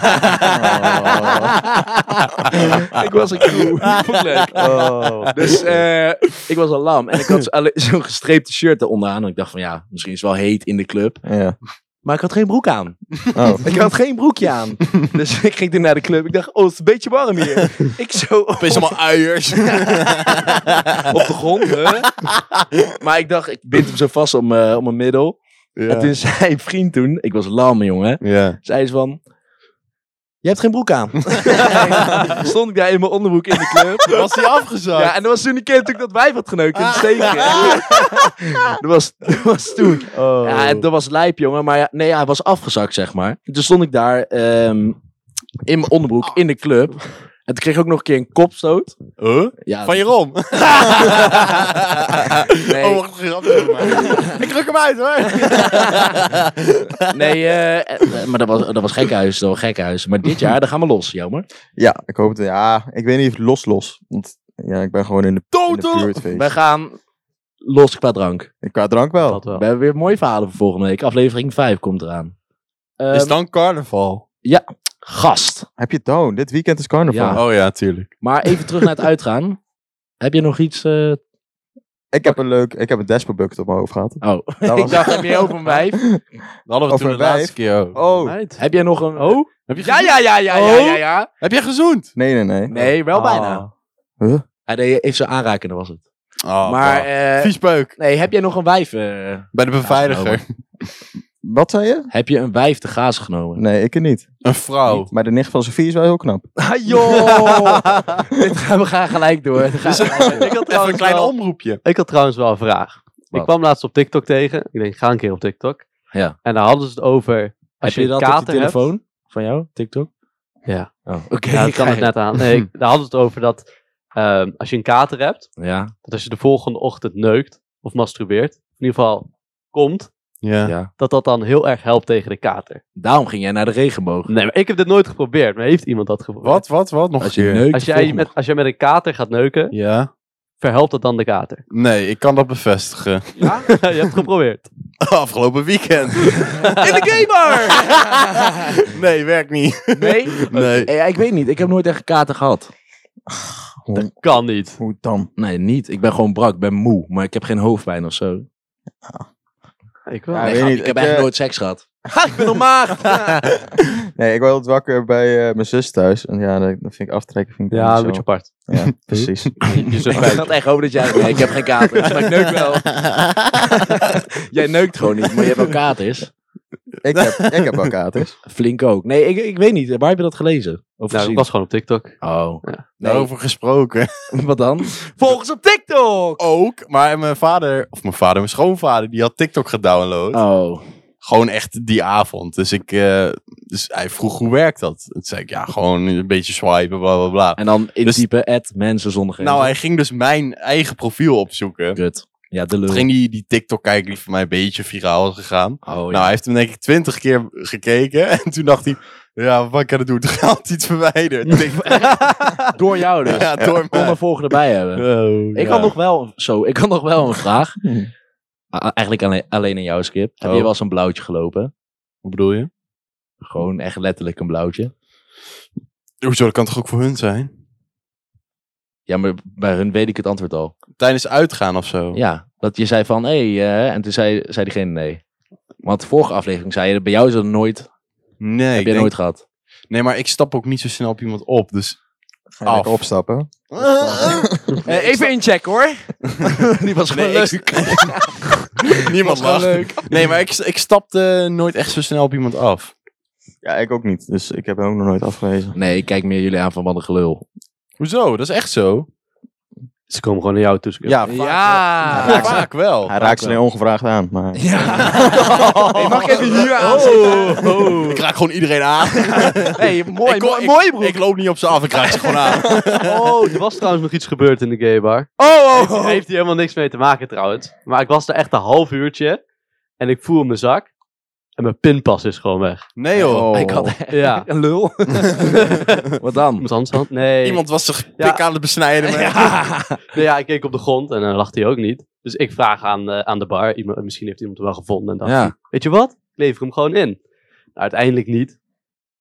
[SPEAKER 2] ik was een koe. Vond ik leuk.
[SPEAKER 3] Oh.
[SPEAKER 2] Dus eh, ik was al lam. En ik had zo- alle- zo'n gestreepte shirt eronder aan. En ik dacht van, ja, misschien is het wel heet in de club.
[SPEAKER 3] Ja.
[SPEAKER 2] Maar ik had geen broek aan.
[SPEAKER 3] Oh.
[SPEAKER 2] Ik had geen broekje aan. Dus ik ging toen naar de club. Ik dacht, oh, het is een beetje warm hier. Ik zo op,
[SPEAKER 1] Opeens allemaal uiers.
[SPEAKER 2] op de grond. hè. Maar ik dacht, ik bind hem zo vast om, eh, om mijn middel. En toen zei een vriend toen, ik was lam, jongen.
[SPEAKER 1] Ja.
[SPEAKER 2] zei ze van... Je hebt geen broek aan. Stond ik daar in mijn onderbroek in de club.
[SPEAKER 1] Was die afgezakt?
[SPEAKER 2] Ja, en dat was toen die keer toen ik dat wijf had geneukt in het steken. dat, was, dat was toen.
[SPEAKER 3] Oh.
[SPEAKER 2] Ah. Ja, en dat was lijp, jongen. Maar ja, nee, hij was afgezakt, zeg maar. En toen stond ik daar ehm, in mijn onderbroek in de club. En toen kreeg ik ook nog een keer een kopstoot.
[SPEAKER 1] Huh?
[SPEAKER 2] Ja,
[SPEAKER 1] Van Jeroen.
[SPEAKER 2] Nee.
[SPEAKER 1] Oh, wacht, grapje. maar. Ik ruk hem uit hoor.
[SPEAKER 2] nee, eh, eh, maar dat was, dat was gekhuis, dat was gekhuis. Maar dit jaar, daar gaan we los, jammer.
[SPEAKER 3] Ja, ik hoop het. Ja, ik weet niet of los los. Want ja, ik ben gewoon in de, in de
[SPEAKER 1] Total.
[SPEAKER 3] buurt
[SPEAKER 2] We
[SPEAKER 3] feest.
[SPEAKER 2] gaan los qua drank.
[SPEAKER 3] Qua drank wel.
[SPEAKER 4] Dat wel.
[SPEAKER 2] We hebben weer mooie verhalen voor volgende week. Aflevering 5 komt eraan. Ehm,
[SPEAKER 1] Is dan carnaval?
[SPEAKER 2] Gast.
[SPEAKER 3] Heb je het down? Dit weekend is carnaval.
[SPEAKER 2] Ja.
[SPEAKER 1] Oh ja, tuurlijk.
[SPEAKER 2] Maar even terug naar het uitgaan. Heb je nog iets? eh,
[SPEAKER 3] Ik heb een leuk, ik heb een despo bucket op mijn hoofd gehad.
[SPEAKER 2] Oh,
[SPEAKER 3] Dat was-
[SPEAKER 2] ik dacht, heb je over een wijf?
[SPEAKER 1] Dat hadden we
[SPEAKER 3] Over
[SPEAKER 1] toen de
[SPEAKER 3] wijf.
[SPEAKER 1] laatste keer ook.
[SPEAKER 3] Oh,
[SPEAKER 2] Heb jij nog een... Oh?
[SPEAKER 1] Heb je
[SPEAKER 2] Ja,
[SPEAKER 1] gezoend? Oh?
[SPEAKER 2] ja, ja, ja, ja, ja, ja.
[SPEAKER 1] Heb jij gezoend?
[SPEAKER 3] nee, nee, nee.
[SPEAKER 2] Nee, wel
[SPEAKER 4] Ah.
[SPEAKER 2] bijna.
[SPEAKER 3] Huh?
[SPEAKER 2] Hij deed even zo aanrakende was het.
[SPEAKER 1] Oh,
[SPEAKER 2] maar,
[SPEAKER 1] bah.
[SPEAKER 2] eh,
[SPEAKER 1] Vies peuk.
[SPEAKER 2] nee, heb jij nog een wijf? eh,
[SPEAKER 1] Bij de beveiliger.
[SPEAKER 2] genomen.
[SPEAKER 3] Wat zei je?
[SPEAKER 2] heb je een wijf te gaas genomen?
[SPEAKER 3] Nee, ik niet.
[SPEAKER 1] een vrouw.
[SPEAKER 3] Maar de nicht van Sofie is wel heel knap.
[SPEAKER 2] Ah, joh! Dit gaan we gaan gelijk door. We gaan gelijk door.
[SPEAKER 4] Ik had
[SPEAKER 1] Even een
[SPEAKER 4] trouwens
[SPEAKER 1] klein
[SPEAKER 4] wel-
[SPEAKER 1] omroepje.
[SPEAKER 4] Ik had trouwens wel een vraag.
[SPEAKER 2] Wat?
[SPEAKER 4] Ik kwam laatst op TikTok tegen. Ik denk, ga een keer op TikTok.
[SPEAKER 2] Ja.
[SPEAKER 4] En daar hadden ze het over.
[SPEAKER 2] Heb
[SPEAKER 4] Als
[SPEAKER 2] je
[SPEAKER 4] een
[SPEAKER 2] dat op je
[SPEAKER 4] kater hebt-
[SPEAKER 2] telefoon? Van jou, TikTok? Oh, Oké,
[SPEAKER 4] Ja, dat kan
[SPEAKER 2] ga
[SPEAKER 4] het
[SPEAKER 2] je-
[SPEAKER 4] net aan. Nee, ik- daar hadden we het over dat ehm, als je een kater hebt,
[SPEAKER 2] Ja,
[SPEAKER 4] dat als je de volgende ochtend neukt of masturbeert, in ieder geval komt,
[SPEAKER 1] Ja.
[SPEAKER 2] ja.
[SPEAKER 4] dat dat dan heel erg helpt tegen de kater.
[SPEAKER 2] Daarom ging jij naar de regenboog.
[SPEAKER 4] Nee, maar ik heb dit nooit geprobeerd, maar heeft iemand dat geprobeerd?
[SPEAKER 1] Wat, wat, wat? Nog
[SPEAKER 2] Als
[SPEAKER 1] een
[SPEAKER 2] je
[SPEAKER 1] keer.
[SPEAKER 2] neukt,
[SPEAKER 4] Als jij,
[SPEAKER 2] volg
[SPEAKER 4] met, als jij met een kater gaat neuken,
[SPEAKER 1] Ja.
[SPEAKER 4] verhelpt dat dan de kater?
[SPEAKER 1] Nee, ik kan dat bevestigen.
[SPEAKER 4] je hebt het geprobeerd.
[SPEAKER 1] Afgelopen weekend.
[SPEAKER 2] In de gamer!
[SPEAKER 1] nee, werkt niet.
[SPEAKER 2] nee?
[SPEAKER 1] Nee.
[SPEAKER 2] Eh, ja, ik weet niet. Ik heb nooit echt kater gehad.
[SPEAKER 4] Dat kan niet.
[SPEAKER 3] Hoe dan?
[SPEAKER 2] Nee, niet. Ik ben gewoon brak. Ik ben moe. Maar ik heb geen hoofdpijn of zo.
[SPEAKER 4] Ik wel.
[SPEAKER 3] Ja,
[SPEAKER 2] Nee,
[SPEAKER 3] weet
[SPEAKER 2] grap,
[SPEAKER 3] niet.
[SPEAKER 2] ik heb
[SPEAKER 3] Ik,
[SPEAKER 2] echt
[SPEAKER 3] eh,
[SPEAKER 2] nooit seks gehad. Ha, ik ben nog maagd!
[SPEAKER 3] Nee, ik was altijd wakker bij eh, mijn zus thuis. En ja, dat dat vind ik aftrekken. Vind ik
[SPEAKER 4] Ja,
[SPEAKER 3] niet
[SPEAKER 4] een beetje
[SPEAKER 3] zo.
[SPEAKER 4] apart.
[SPEAKER 3] Ja, precies.
[SPEAKER 4] Je
[SPEAKER 2] ik
[SPEAKER 4] zus
[SPEAKER 2] had echt hopen dat jij... Nee, ik heb geen kater. Maar ik neuk wel. jij neukt gewoon niet, maar je hebt wel katers.
[SPEAKER 3] ik, heb, ik heb wel katers.
[SPEAKER 2] Flink ook. Nee, ik, ik weet niet. Waar heb je dat gelezen? Of
[SPEAKER 4] nou, ik
[SPEAKER 2] gezien?
[SPEAKER 4] was gewoon op TikTok.
[SPEAKER 2] Oh.
[SPEAKER 1] Daarover gesproken.
[SPEAKER 2] Wat dan?
[SPEAKER 4] Volgens op TikTok!
[SPEAKER 1] Ook, maar mijn vader, of mijn vader, mijn schoonvader, die had TikTok gedownload.
[SPEAKER 2] Oh.
[SPEAKER 1] Gewoon echt die avond. Dus, ik, eh, dus hij vroeg hoe werkt dat? Toen zei ik, ja, gewoon een beetje swipen, bla bla bla.
[SPEAKER 2] En dan in type at mensen zonder grenzen.
[SPEAKER 1] Nou, hij ging dus mijn eigen profiel opzoeken.
[SPEAKER 2] Kut. Ja, de lul.
[SPEAKER 1] Toen ging hij die TikTok kijken die voor mij een beetje viraal was gegaan.
[SPEAKER 2] Oh,
[SPEAKER 1] Nou, hij heeft hem denk ik twintig keer gekeken. En toen dacht hij, ja, wat kan ik doen? Toen had hij iets verwijderd. TikTok.
[SPEAKER 2] Door jou dus.
[SPEAKER 1] ja, door
[SPEAKER 2] Kon
[SPEAKER 1] mij.
[SPEAKER 2] er volgende bij hebben.
[SPEAKER 1] Oh,
[SPEAKER 2] Ik
[SPEAKER 1] ja.
[SPEAKER 2] had nog wel, zo, ik had nog wel een vraag. A- Eigenlijk alleen, alleen aan jou, Skip. Heb
[SPEAKER 1] Oh.
[SPEAKER 2] je wel eens een blauwtje gelopen?
[SPEAKER 1] Hoe bedoel je?
[SPEAKER 2] Gewoon echt letterlijk een blauwtje.
[SPEAKER 1] Hoezo, dat kan toch ook voor hun zijn?
[SPEAKER 2] Ja, maar bij hun weet ik het antwoord al.
[SPEAKER 1] Tijdens uitgaan of zo?
[SPEAKER 2] Ja, dat je zei van, hé, hey, eh, en toen zei, zei diegene nee. Want de vorige aflevering zei je, bij jou is dat nooit,
[SPEAKER 1] Nee,
[SPEAKER 2] heb
[SPEAKER 1] ik
[SPEAKER 2] je
[SPEAKER 1] denk-
[SPEAKER 2] nooit gehad.
[SPEAKER 1] nee, maar ik stap ook niet zo snel op iemand op, dus...
[SPEAKER 3] Ga je lekker
[SPEAKER 1] Af.
[SPEAKER 3] opstappen?
[SPEAKER 1] Eh,
[SPEAKER 2] even inchecken hoor. Die was gewoon
[SPEAKER 1] Nee, ik-
[SPEAKER 2] leuk.
[SPEAKER 1] Niemand
[SPEAKER 2] gewoon
[SPEAKER 1] lacht. Nee, maar ik, ik stapte nooit echt zo snel op iemand af.
[SPEAKER 3] Ja, ik ook niet. Dus ik heb hem ook nog nooit afgewezen.
[SPEAKER 2] Nee, ik kijk meer jullie aan van wat een gelul.
[SPEAKER 1] Hoezo? Dat is echt zo?
[SPEAKER 4] Ze komen gewoon naar jou toe.
[SPEAKER 1] Ja, vaak,
[SPEAKER 2] Ja.
[SPEAKER 1] wel. vaak wel.
[SPEAKER 3] Hij raakt ze alleen ongevraagd aan, maar...
[SPEAKER 2] Hey, mag ik even hier aan
[SPEAKER 1] Oh. Ik raak gewoon iedereen aan.
[SPEAKER 2] Hey, mooi,
[SPEAKER 1] Ik kom-
[SPEAKER 2] mooi, mooie broek.
[SPEAKER 1] ik loop niet op ze af, ik raak ze gewoon aan.
[SPEAKER 4] Oh, er was trouwens nog iets gebeurd in de gaybar.
[SPEAKER 2] oh,
[SPEAKER 4] Heeft, heeft hier helemaal niks mee te maken trouwens. Maar ik was er echt een half uurtje. En ik voel in mijn zak. En mijn pinpas is gewoon weg.
[SPEAKER 1] Nee joh.
[SPEAKER 3] Oh.
[SPEAKER 2] Ik had echt
[SPEAKER 4] Ja.
[SPEAKER 2] een lul. Wat dan?
[SPEAKER 4] Iemand anders had? Nee.
[SPEAKER 1] Iemand was zich
[SPEAKER 4] Ja.
[SPEAKER 1] pik aan het besnijden. maar-
[SPEAKER 4] Nou ja, ik keek op de grond en dan lag hij ook niet. Dus ik vraag aan, eh, aan de bar. Iemand, misschien heeft iemand hem wel gevonden. En dacht
[SPEAKER 2] Ja.
[SPEAKER 4] hij, weet je wat? Ik lever hem gewoon in. Nou, uiteindelijk niet.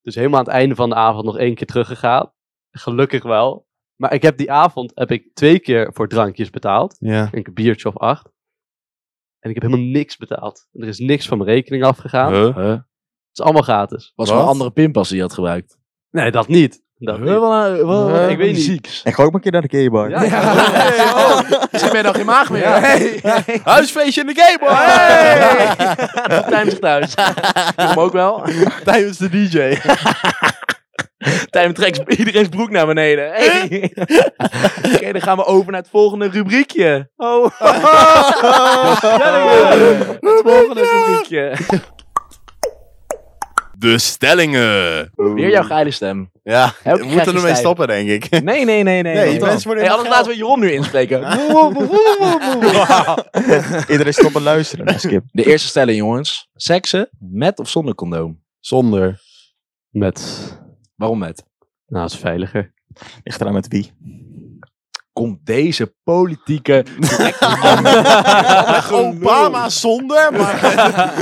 [SPEAKER 4] Dus helemaal aan het einde van de avond nog één keer teruggegaan. Gelukkig wel. Maar ik heb die avond heb ik twee keer voor drankjes betaald.
[SPEAKER 1] Ja.
[SPEAKER 4] Ik heb een biertje of acht. En ik heb helemaal niks betaald. En er is niks van mijn rekening afgegaan.
[SPEAKER 1] Huh?
[SPEAKER 2] Huh?
[SPEAKER 4] Het is allemaal gratis.
[SPEAKER 2] Was wel een
[SPEAKER 1] Wat?
[SPEAKER 2] andere pinpas die je had gebruikt.
[SPEAKER 4] Nee, dat niet. Dat
[SPEAKER 2] Huh?
[SPEAKER 4] niet.
[SPEAKER 2] wel,
[SPEAKER 3] wel-
[SPEAKER 4] ik weet niet.
[SPEAKER 2] Zieks.
[SPEAKER 3] En ga ook maar een keer naar de gaybar.
[SPEAKER 4] Ja, ja. oh.
[SPEAKER 2] Ze ben nog geen maag meer. Hey. Hey.
[SPEAKER 1] Huisfeestje in de game hoor!
[SPEAKER 2] Time zich thuis. Doe hem ook wel.
[SPEAKER 1] Tijdens de DJ.
[SPEAKER 2] Time trekt iedereen's broek naar beneden. Hey. Oké, dan gaan we over naar het volgende rubriekje. Oh. Het volgende rubriekje.
[SPEAKER 1] De stellingen.
[SPEAKER 2] Weer jouw geile stem.
[SPEAKER 1] Ja,
[SPEAKER 2] keer
[SPEAKER 1] we
[SPEAKER 2] krijg je
[SPEAKER 1] moeten ermee
[SPEAKER 2] stijf.
[SPEAKER 1] stoppen denk ik.
[SPEAKER 2] Nee, nee, nee, nee.
[SPEAKER 1] Nee,
[SPEAKER 2] nee.
[SPEAKER 1] die mensen worden
[SPEAKER 2] hey,
[SPEAKER 1] helemaal
[SPEAKER 2] anders laten we Jeroen nu inspreken.
[SPEAKER 3] Iedereen stoppen luisteren naar Skip.
[SPEAKER 2] De eerste stelling, jongens. Seksen met of zonder condoom?
[SPEAKER 1] Zonder.
[SPEAKER 4] Met.
[SPEAKER 2] Waarom met?
[SPEAKER 4] Nou, het is veiliger.
[SPEAKER 3] Ligt eraan met wie.
[SPEAKER 2] Komt deze politieke...
[SPEAKER 1] Obama zonder, maar...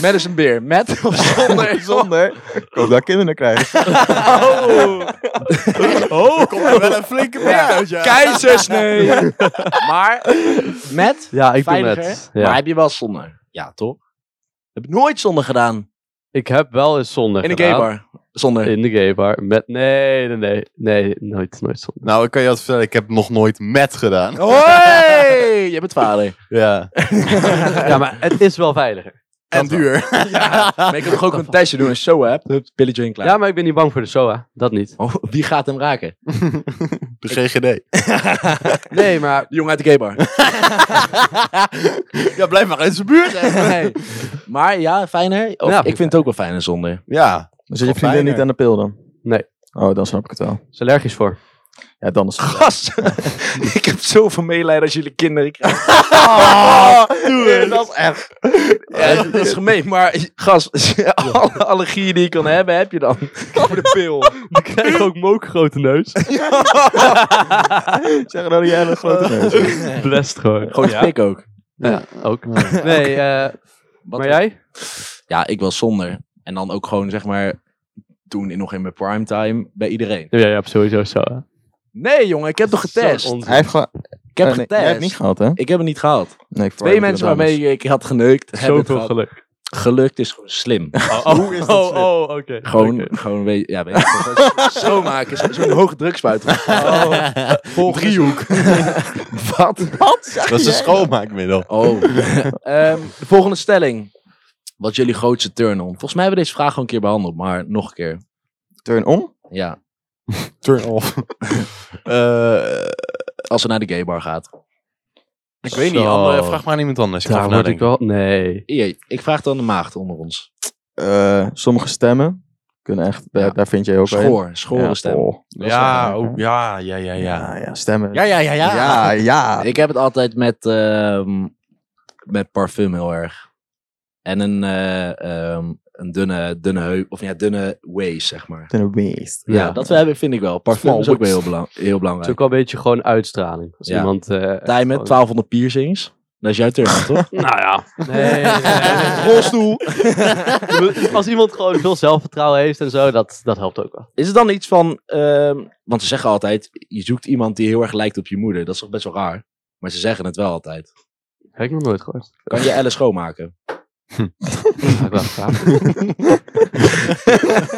[SPEAKER 2] Met is een beer. Met of zonder?
[SPEAKER 3] Zonder. Ik hoop dat ik kinderen krijgen.
[SPEAKER 2] Oh.
[SPEAKER 1] Oh, komt er wel een flinke bek uit, ja.
[SPEAKER 2] Keizersnee. maar met?
[SPEAKER 4] Ja, ik
[SPEAKER 2] Veiliger.
[SPEAKER 4] doe het. Ja.
[SPEAKER 2] Maar heb je wel zonder? Ja, toch? Heb ik nooit zonder gedaan.
[SPEAKER 4] Ik heb wel eens zonder
[SPEAKER 2] In de
[SPEAKER 4] gedaan.
[SPEAKER 2] gaybar. Zonder.
[SPEAKER 4] In de gaybar. Met, nee, nee, nee. Nee, nooit, nooit zonder.
[SPEAKER 1] Nou, ik kan je wat vertellen, ik heb nog nooit met gedaan.
[SPEAKER 2] Hoi! Je bent vader.
[SPEAKER 1] Ja.
[SPEAKER 4] ja, maar het is wel veiliger.
[SPEAKER 1] En duur.
[SPEAKER 2] Maar je kunt toch ook een testje doen als je zo hebt? Hup, Pilletje in klaar.
[SPEAKER 4] Ja, maar ik ben niet bang voor de SOA. Dat niet.
[SPEAKER 2] Oh, wie gaat hem raken?
[SPEAKER 1] De GGD.
[SPEAKER 4] Nee, maar...
[SPEAKER 2] De jongen uit de gaybar.
[SPEAKER 1] Ja, blijf maar in zijn buurt.
[SPEAKER 2] Nee. Maar ja, fijner. Of,
[SPEAKER 4] Ja,
[SPEAKER 2] ik vind het ook wel fijner zonder.
[SPEAKER 1] Ja.
[SPEAKER 3] Dan zit je
[SPEAKER 1] Wel
[SPEAKER 3] vriendin
[SPEAKER 1] fijner.
[SPEAKER 3] niet aan de pil dan.
[SPEAKER 4] Nee.
[SPEAKER 3] Oh, dan snap ik het wel.
[SPEAKER 4] Is allergisch voor.
[SPEAKER 3] Ja, dan is het...
[SPEAKER 2] Gast, ik heb zoveel medelijden als jullie kinderen krijgen.
[SPEAKER 3] dat is echt...
[SPEAKER 2] Ja, dat is gemeen, maar gast, als je alle allergieën die je kan hebben, heb je dan. Voor de pil.
[SPEAKER 4] Ik krijg ook mookgrote neus.
[SPEAKER 3] Zeg nou die hele grote neus.
[SPEAKER 4] Blest gewoon.
[SPEAKER 2] Gewoon
[SPEAKER 4] ja.
[SPEAKER 2] spik ook.
[SPEAKER 4] Ja, ook. Nee, eh,
[SPEAKER 2] Wat
[SPEAKER 4] maar jij?
[SPEAKER 2] Ja, ik wel zonder. En dan ook gewoon, zeg maar, toen in, nog in mijn primetime bij iedereen.
[SPEAKER 4] Ja, ja, sowieso zo.
[SPEAKER 2] Nee, jongen, ik heb toch getest?
[SPEAKER 4] Zo'n onzin.
[SPEAKER 3] Hij heeft gewoon...
[SPEAKER 2] Ik heb
[SPEAKER 3] eh, nee, jij hebt
[SPEAKER 2] getest.
[SPEAKER 3] het niet gehad, hè?
[SPEAKER 2] ik heb het niet gehaald.
[SPEAKER 3] Nee, ik
[SPEAKER 2] Twee
[SPEAKER 3] verwarde
[SPEAKER 2] mensen
[SPEAKER 3] het met
[SPEAKER 2] waarmee ik had geneukt, hebben het
[SPEAKER 4] Zoveel
[SPEAKER 2] gehad.
[SPEAKER 4] geluk.
[SPEAKER 2] Gelukt is gewoon slim.
[SPEAKER 4] Oh,
[SPEAKER 3] Hoe is dat
[SPEAKER 4] oh,
[SPEAKER 3] slim?
[SPEAKER 4] oh, oké.
[SPEAKER 2] Gewoon,
[SPEAKER 4] Oké.
[SPEAKER 2] gewoon weet, ja, weet je, dat is schoonmaken, zo- zo'n hoge drukspuit. Driehoek. Wat?
[SPEAKER 3] Anders.
[SPEAKER 1] Dat is een schoonmaakmiddel.
[SPEAKER 2] Oh. Ehm, de volgende stelling. Wat is jullie grootste turn-on? Volgens mij hebben we deze vraag al een keer behandeld, maar nog een keer.
[SPEAKER 3] Turn om?
[SPEAKER 2] Ja,
[SPEAKER 1] Turn off.
[SPEAKER 2] als ze naar de gaybar gaat.
[SPEAKER 1] ik weet niet,
[SPEAKER 4] Zo.
[SPEAKER 1] andere, vraag maar aan iemand anders. Ik ga
[SPEAKER 4] Daar
[SPEAKER 1] even
[SPEAKER 4] word ik
[SPEAKER 1] nadenken.
[SPEAKER 4] wel... Nee.
[SPEAKER 2] Jee, ik vraag dan de maagd onder ons.
[SPEAKER 3] Eh, sommige stemmen kunnen echt... daar-
[SPEAKER 2] Ja.
[SPEAKER 3] Daar vind je heel veel.
[SPEAKER 2] Schoor, schore stem.
[SPEAKER 1] Ja, oh, ja, ja, ja, ja.
[SPEAKER 3] ja, ja, stemmen.
[SPEAKER 1] Ja, ja, ja, ja.
[SPEAKER 3] ja. ja.
[SPEAKER 2] Ik heb het altijd met, ehm, met parfum heel erg. En een, eh, ehm, een dunne, dunne heup, of ja, dunne waist, zeg maar.
[SPEAKER 3] Ten beest.
[SPEAKER 2] Ja,
[SPEAKER 4] Ja.
[SPEAKER 2] dat hebben, vind ik wel. Parfum
[SPEAKER 1] Small
[SPEAKER 2] is ook wel
[SPEAKER 1] waist.
[SPEAKER 2] heel, belang, heel
[SPEAKER 4] Het is ook
[SPEAKER 2] belangrijk.
[SPEAKER 4] wel een beetje gewoon uitstraling. Als
[SPEAKER 2] Ja.
[SPEAKER 4] iemand... eh,
[SPEAKER 2] Tij met
[SPEAKER 4] gewoon-
[SPEAKER 2] 1200 piercings. Dat is jouw turn, toch?
[SPEAKER 4] Nou ja. Nee.
[SPEAKER 1] Rolstoel.
[SPEAKER 4] Als iemand gewoon veel zelfvertrouwen heeft en zo, dat, dat helpt ook wel.
[SPEAKER 2] Is het dan iets van... ehm, want ze zeggen altijd, je zoekt iemand die heel erg lijkt op je moeder. Dat is toch best wel raar? Maar ze zeggen het wel altijd.
[SPEAKER 4] Heb ik nog nooit gehoord.
[SPEAKER 2] Kan je Elle schoonmaken?
[SPEAKER 4] Ga ik wel vragen.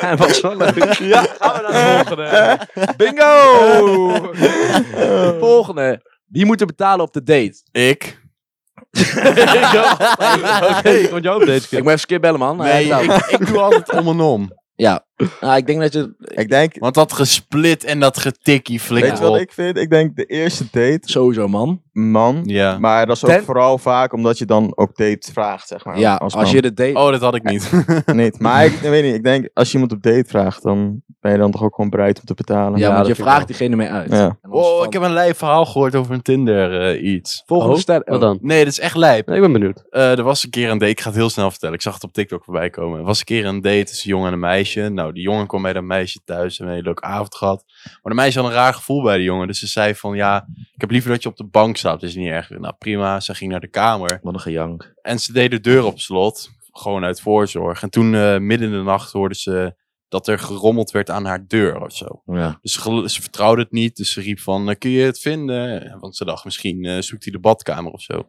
[SPEAKER 2] Dat was wel leuk.
[SPEAKER 4] Ja, gaan we naar de volgende.
[SPEAKER 2] Bingo! Volgende. Wie moet er betalen op de date?
[SPEAKER 1] Ik?
[SPEAKER 4] Oké, ik want jou op deze
[SPEAKER 2] Ik
[SPEAKER 4] keer.
[SPEAKER 2] moet even skip bellen, man.
[SPEAKER 1] Nee,
[SPEAKER 2] Ja,
[SPEAKER 1] ik, ik doe altijd om en om.
[SPEAKER 2] Ja. Nou, ik denk dat je...
[SPEAKER 3] Ik denk,
[SPEAKER 1] Want dat gesplit en dat getikkie
[SPEAKER 3] weet
[SPEAKER 1] flikker
[SPEAKER 3] je wat
[SPEAKER 1] op.
[SPEAKER 3] ik vind? Ik denk de eerste date,
[SPEAKER 2] Sowieso, man.
[SPEAKER 3] man.
[SPEAKER 1] Ja.
[SPEAKER 3] Maar dat is ook
[SPEAKER 2] Ten-
[SPEAKER 3] vooral vaak omdat je dan ook dates vraagt, zeg maar.
[SPEAKER 2] Ja, als, je
[SPEAKER 3] man.
[SPEAKER 2] de date...
[SPEAKER 1] Oh, dat had ik niet.
[SPEAKER 3] Niet. Maar ik, ik weet niet, ik denk als je iemand op date vraagt, dan ben je dan toch ook gewoon bereid om te betalen.
[SPEAKER 2] ja,
[SPEAKER 4] dat
[SPEAKER 2] want je
[SPEAKER 4] vind ik
[SPEAKER 2] vraagt diegene mee uit.
[SPEAKER 3] Ja.
[SPEAKER 2] En anders
[SPEAKER 1] Oh,
[SPEAKER 2] van-
[SPEAKER 1] ik heb een lijp verhaal gehoord over een Tinder eh, iets.
[SPEAKER 2] Volgende
[SPEAKER 4] Oh,
[SPEAKER 2] stelling.
[SPEAKER 4] Wat dan?
[SPEAKER 1] Nee, dat is echt lijp.
[SPEAKER 4] Nee, ik ben benieuwd.
[SPEAKER 1] Eh, er was een keer een date, ik ga het heel snel vertellen. Ik zag het op TikTok voorbij komen. Er was een keer een date tussen een jongen en een meisje. Nou, die jongen kwam bij dat meisje thuis en een hele leuke avond gehad. Maar de meisje had een raar gevoel bij de jongen. Dus ze zei van, ja, ik heb liever dat je op de bank slaapt. Dat is niet erg. Nou, prima. Ze ging naar de kamer.
[SPEAKER 2] Wat een gejank.
[SPEAKER 1] En ze deed de deur op slot, gewoon uit voorzorg. En toen eh, midden in de nacht hoorde ze dat er gerommeld werd aan haar deur of zo.
[SPEAKER 2] Ja.
[SPEAKER 1] Dus ze, gel- ze vertrouwde het niet, dus ze riep van, eh, kun je het vinden? Want ze dacht, misschien eh, zoekt hij de badkamer of zo.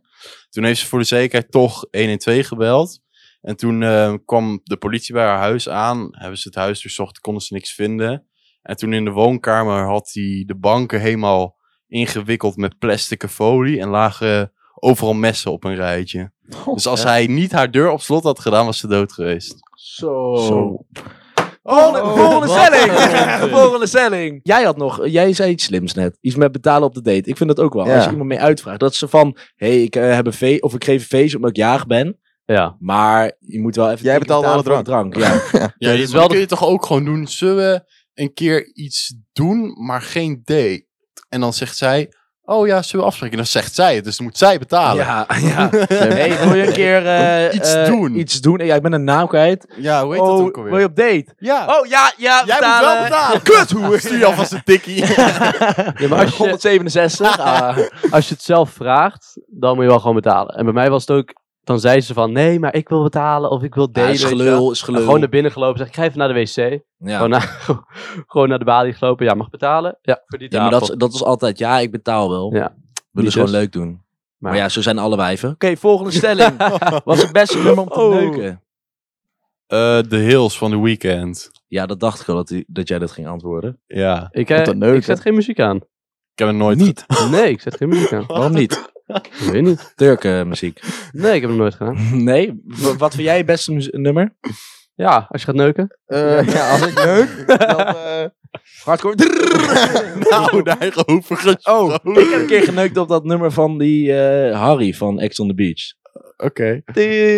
[SPEAKER 1] Toen heeft ze voor de zekerheid toch 112 gebeld. En toen eh, kwam de politie bij haar huis aan, hebben ze het huis doorzocht, konden ze niks vinden. En toen in de woonkamer had hij de banken helemaal ingewikkeld met plastic folie en lagen overal messen op een rijtje. Dus als hij niet haar deur op slot had gedaan, was ze dood geweest.
[SPEAKER 2] Zo.
[SPEAKER 3] Zo.
[SPEAKER 2] Volgende,
[SPEAKER 4] Oh,
[SPEAKER 2] volgende
[SPEAKER 4] wat
[SPEAKER 2] stelling.
[SPEAKER 4] een onzin.
[SPEAKER 2] volgende stelling. Jij had nog, jij zei iets slims net. Iets met betalen op de date. Ik vind dat ook wel.
[SPEAKER 3] Ja.
[SPEAKER 2] Als je iemand mee uitvraagt. Dat ze van, hé, hey, ik eh, heb een feest, of ik geef een feest omdat ik jaag ben.
[SPEAKER 4] Ja.
[SPEAKER 2] Maar je moet wel even
[SPEAKER 3] Jij
[SPEAKER 2] betalen
[SPEAKER 3] betaalt alle
[SPEAKER 2] voor de drank. Ja.
[SPEAKER 1] Ja,
[SPEAKER 4] dat
[SPEAKER 1] dit
[SPEAKER 4] is wel
[SPEAKER 1] kun je toch ook gewoon doen. Zullen we een keer iets doen, maar geen date? En dan zegt zij, oh ja, zullen we afspreken? En dan zegt zij het, dus dan moet zij betalen. Ja,
[SPEAKER 2] ja, ja. Hey, wil je een keer eh,
[SPEAKER 1] Iets
[SPEAKER 2] eh,
[SPEAKER 1] doen.
[SPEAKER 2] Iets doen. Ja, ik ben een naam kwijt.
[SPEAKER 1] hoe heet
[SPEAKER 2] oh,
[SPEAKER 1] dat ook
[SPEAKER 2] wil je
[SPEAKER 1] alweer?
[SPEAKER 2] op date?
[SPEAKER 1] Ja,
[SPEAKER 2] Oh ja, ja,
[SPEAKER 1] jij moet wel betalen. Kut, hoe? Stuur je alvast een tikkie.
[SPEAKER 4] Ja, maar als je,
[SPEAKER 2] 167. Ah.
[SPEAKER 4] als je het zelf vraagt, dan moet je wel gewoon betalen. En bij mij was het ook, dan zei ze van, nee, maar ik wil betalen of ik wil
[SPEAKER 2] Ja,
[SPEAKER 4] delen.
[SPEAKER 2] is
[SPEAKER 4] weet je wel.
[SPEAKER 2] gelul, is
[SPEAKER 4] En
[SPEAKER 2] gelul.
[SPEAKER 4] Gewoon naar binnen gelopen, zeg ik ga even naar de wc.
[SPEAKER 2] ja.
[SPEAKER 4] Gewoon, naar, gewoon naar de balie gelopen, ja, mag betalen. Ja, voor die
[SPEAKER 2] Ja, maar
[SPEAKER 4] tafel.
[SPEAKER 2] dat, dat is altijd, ja, ik betaal wel.
[SPEAKER 4] Ja.
[SPEAKER 2] Wil dus
[SPEAKER 4] Niet
[SPEAKER 2] gewoon
[SPEAKER 4] dus.
[SPEAKER 2] leuk doen. Maar,
[SPEAKER 4] Maar-
[SPEAKER 2] ja, zo zijn alle wijven. Oké, volgende stelling. Was het beste nummer om te
[SPEAKER 4] Oh.
[SPEAKER 2] neuken?
[SPEAKER 1] Eh, De Hills van The Weeknd.
[SPEAKER 2] Ja, dat dacht ik al dat, die- dat jij dat ging antwoorden.
[SPEAKER 1] Ja,
[SPEAKER 4] Ik, eh,
[SPEAKER 3] Wat een neuk,
[SPEAKER 4] ik zet
[SPEAKER 3] hè?
[SPEAKER 4] geen muziek aan.
[SPEAKER 1] ik heb het nooit
[SPEAKER 2] Niet.
[SPEAKER 4] Nee, ik zet geen muziek aan.
[SPEAKER 2] Waarom niet?
[SPEAKER 4] Ik weet niet.
[SPEAKER 2] Turken muziek.
[SPEAKER 4] Nee, ik heb hem nooit gedaan.
[SPEAKER 2] Nee? W- Wat vind jij het beste mu- nummer?
[SPEAKER 4] Ja, als je gaat neuken.
[SPEAKER 3] Eh, ja, als ik leuk, dan... eh,
[SPEAKER 2] Hardcore. Drrrr.
[SPEAKER 1] Nou, daar over
[SPEAKER 2] Oh, ik heb een keer geneukt op dat nummer van die eh, Harry van Ex on the Beach.
[SPEAKER 1] Oké.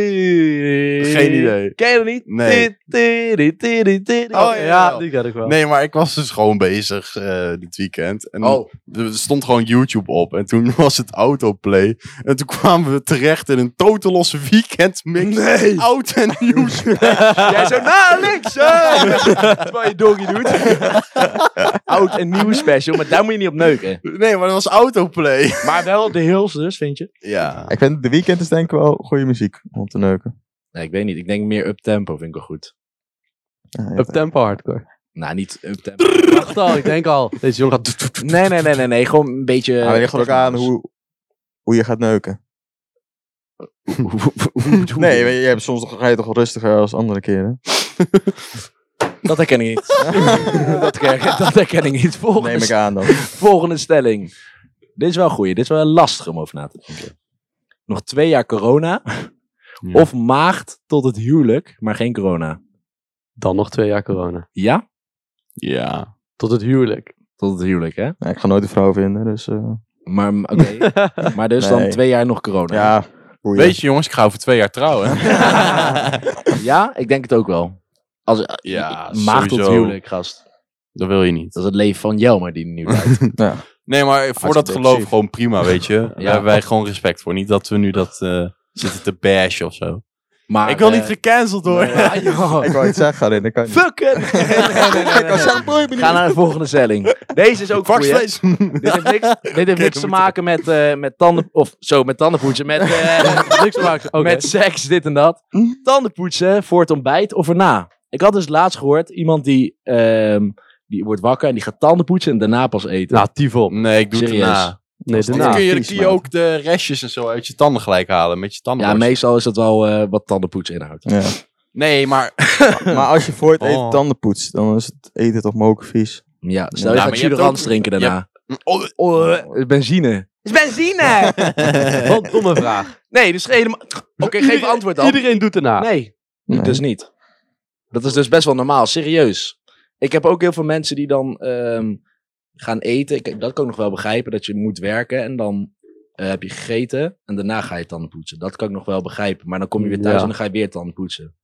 [SPEAKER 2] Geen
[SPEAKER 1] Geen idee.
[SPEAKER 2] Ken je dat niet?
[SPEAKER 1] Nee.
[SPEAKER 2] Ti- tiri- tiri- tiri.
[SPEAKER 1] Oh, ja, ja.
[SPEAKER 4] die ken ik wel.
[SPEAKER 1] Nee, maar ik was dus gewoon bezig eh, dit weekend. En
[SPEAKER 2] Oh.
[SPEAKER 1] er stond gewoon YouTube op. En toen was het autoplay. En toen kwamen we terecht in een totelosse weekend mix.
[SPEAKER 2] Nee.
[SPEAKER 1] Oud en nieuw.
[SPEAKER 2] Jij zo, nou niks! Terwijl je doggy doet. Oud en nieuw special, maar daar moet je niet op neuken.
[SPEAKER 1] Nee, maar dat was autoplay.
[SPEAKER 2] Maar wel de hills dus, vind je?
[SPEAKER 1] Ja.
[SPEAKER 3] Ik vind The Weeknd is denk ik wel goede muziek om te neuken.
[SPEAKER 2] Nee, ik weet niet. Ik denk meer uptempo vind ik wel goed.
[SPEAKER 3] Ja, ja.
[SPEAKER 4] Up tempo hardcore.
[SPEAKER 2] Nou, niet uptempo.
[SPEAKER 4] Ik dacht al, ik denk al. Deze jongen gaat...
[SPEAKER 2] Nee, nee, nee, nee, nee. Gewoon een beetje...
[SPEAKER 3] Maar het Ah, ligt er ook
[SPEAKER 2] dus-
[SPEAKER 3] aan hoe, hoe je gaat neuken. Nee, weet je, je hebt soms toch, ga je toch wel rustiger als andere keren.
[SPEAKER 2] Dat herken ik niet. dat, herken, dat herken ik niet. Volgende,
[SPEAKER 3] Neem ik aan dan.
[SPEAKER 2] volgende stelling. Dit is wel een goeie. Dit is wel lastig om over na te denken. Nog twee jaar corona.
[SPEAKER 1] Ja.
[SPEAKER 2] Of maagd tot het huwelijk, maar geen corona.
[SPEAKER 4] Dan nog twee jaar corona.
[SPEAKER 2] Ja?
[SPEAKER 1] Ja.
[SPEAKER 4] Tot het huwelijk.
[SPEAKER 2] Tot het huwelijk, hè?
[SPEAKER 3] Ja, ik ga nooit een vrouw vinden, dus... eh,
[SPEAKER 2] Maar, m- oké. maar dus dan
[SPEAKER 3] Nee.
[SPEAKER 2] twee jaar nog corona.
[SPEAKER 3] ja, boeien.
[SPEAKER 1] Weet je jongens, ik ga over twee jaar trouwen.
[SPEAKER 2] Ja, ik denk het ook wel. Als,
[SPEAKER 1] Ja,
[SPEAKER 2] maagd tot het
[SPEAKER 1] sowieso.
[SPEAKER 2] huwelijk, gast.
[SPEAKER 1] Dat wil je niet.
[SPEAKER 2] Dat is het leven van Jelmer die nu lijkt.
[SPEAKER 1] Nee, maar voor dat
[SPEAKER 2] Hartstikke
[SPEAKER 1] geloof
[SPEAKER 2] inclusief.
[SPEAKER 1] gewoon prima, weet je. Daar hebben wij gewoon respect voor. Niet dat we nu dat eh, zitten te bashen of zo.
[SPEAKER 2] Maar,
[SPEAKER 1] ik wil
[SPEAKER 2] eh,
[SPEAKER 1] niet gecanceld hoor.
[SPEAKER 2] ja, joh.
[SPEAKER 3] Ik wou iets zeggen, Rin, dat kan niet.
[SPEAKER 2] Fucken! Nee, nee, nee, nee, nee, nee. Ga naar de volgende stelling. Deze is ook voor je.
[SPEAKER 1] Varkensvlees.
[SPEAKER 2] Dit heeft niks, dit heeft niks te maken met, eh, met tanden... Of zo, met tandenpoetsen. Met, eh,
[SPEAKER 4] Niks maken. Oké.
[SPEAKER 2] met seks, dit en dat. Tandenpoetsen voor het ontbijt of erna. Ik had dus laatst gehoord, iemand die, ehm, die wordt wakker en die gaat tanden poetsen en daarna pas eten.
[SPEAKER 4] Nou, Tivol. Nou,
[SPEAKER 1] Nee, ik doe het
[SPEAKER 2] Serieus.
[SPEAKER 1] erna.
[SPEAKER 4] Nee,
[SPEAKER 1] Dan
[SPEAKER 4] daarna.
[SPEAKER 1] kun je,
[SPEAKER 3] vies,
[SPEAKER 1] kun je ook de restjes en zo uit je tanden gelijk halen met je tanden.
[SPEAKER 2] ja, meestal is dat wel eh, wat tandenpoetsen inhoudt.
[SPEAKER 3] Ja.
[SPEAKER 1] Nee, maar,
[SPEAKER 3] Maar als je voor het eten
[SPEAKER 1] Oh.
[SPEAKER 3] tanden poetst, dan is het eten toch mokervies.
[SPEAKER 2] Ja, stel
[SPEAKER 1] Ja,
[SPEAKER 2] Dus je
[SPEAKER 1] maar
[SPEAKER 2] gaat
[SPEAKER 1] je hebt
[SPEAKER 2] Juderans
[SPEAKER 1] ook-
[SPEAKER 2] drinken
[SPEAKER 1] je
[SPEAKER 2] daarna.
[SPEAKER 1] oh,
[SPEAKER 2] Oh, eh, benzine. is benzine!
[SPEAKER 4] Wat een domme vraag.
[SPEAKER 2] nee, dus helemaal... Oké, geef
[SPEAKER 4] Iedereen-
[SPEAKER 2] antwoord dan.
[SPEAKER 4] Iedereen doet erna.
[SPEAKER 2] Nee,
[SPEAKER 3] Nee.
[SPEAKER 2] Dus niet. Dat is dus best wel normaal, serieus. Ik heb ook heel veel mensen die dan ehm, gaan eten. Kijk, dat kan ik nog wel begrijpen, dat je moet werken en dan eh, heb je gegeten en daarna ga je tanden poetsen. Dat kan ik nog wel begrijpen, maar dan kom je weer thuis
[SPEAKER 4] Ja.
[SPEAKER 2] en dan ga je weer tanden poetsen.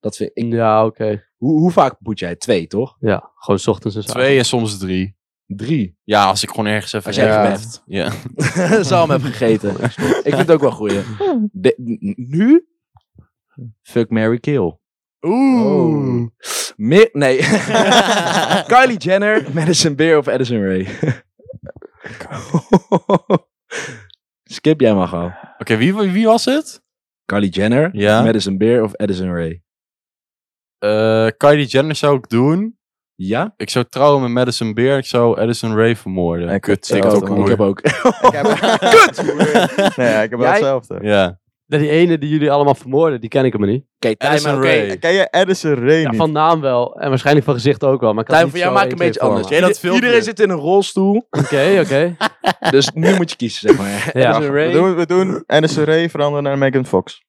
[SPEAKER 2] Dat vind ik,
[SPEAKER 4] Ja, oké.
[SPEAKER 2] hoe, hoe vaak poet jij? Twee, toch?
[SPEAKER 4] Ja, gewoon 's ochtends en 's avonds.
[SPEAKER 1] twee en soms drie.
[SPEAKER 2] Drie.
[SPEAKER 1] Ja, als ik gewoon ergens even...
[SPEAKER 2] Als jij
[SPEAKER 1] ja.
[SPEAKER 2] gebeft.
[SPEAKER 1] Ja.
[SPEAKER 2] Zal hem hebben gegeten. ik vind het ook wel een goeie. De- n- nu? Fuck, Mary kill.
[SPEAKER 4] Oh.
[SPEAKER 1] Oeh.
[SPEAKER 2] Mi- nee. Kylie Jenner, Madison Beer of Addison Ray? Skip jij maar gewoon.
[SPEAKER 1] Oké, wie, wie was het?
[SPEAKER 2] Kylie Jenner,
[SPEAKER 1] Ja.
[SPEAKER 2] Madison Beer of Addison Ray?
[SPEAKER 1] Eh, Kylie Jenner zou ik doen.
[SPEAKER 2] Ja?
[SPEAKER 1] Ik zou trouwen met Madison Beer. Ik zou Addison Ray vermoorden.
[SPEAKER 3] En kut,
[SPEAKER 1] ik
[SPEAKER 3] ja,
[SPEAKER 1] ook
[SPEAKER 3] dat
[SPEAKER 1] een
[SPEAKER 2] ik
[SPEAKER 3] moet
[SPEAKER 2] heb
[SPEAKER 1] moeder.
[SPEAKER 2] ook.
[SPEAKER 3] Ik heb... Kut! Nee, ik heb wel
[SPEAKER 2] Jij?
[SPEAKER 3] hetzelfde.
[SPEAKER 1] Ja.
[SPEAKER 4] Nee, Die ene die jullie allemaal vermoorden, die ken ik hem niet.
[SPEAKER 2] Oké, Tijm,
[SPEAKER 1] Addison
[SPEAKER 2] oké.
[SPEAKER 1] Rae.
[SPEAKER 3] Ken je Edison Ray
[SPEAKER 4] Ja,
[SPEAKER 3] niet?
[SPEAKER 4] van naam wel. En waarschijnlijk van gezicht ook wel. Maar ik had
[SPEAKER 2] Tijm,
[SPEAKER 4] niet
[SPEAKER 2] voor jou
[SPEAKER 4] zo
[SPEAKER 2] maak ik een
[SPEAKER 4] 1, 2
[SPEAKER 2] beetje
[SPEAKER 4] voor
[SPEAKER 2] anders.
[SPEAKER 4] me.
[SPEAKER 1] Ken je dat
[SPEAKER 2] Ieder-
[SPEAKER 1] filmpje?
[SPEAKER 2] Iedereen zit in een rolstoel,
[SPEAKER 4] Oké, oké.
[SPEAKER 2] dus nu moet je kiezen, zeg maar.
[SPEAKER 4] Ja.
[SPEAKER 2] Addison Ray.
[SPEAKER 3] We doen, we doen Edison Ray E, veranderen naar Megan Fox.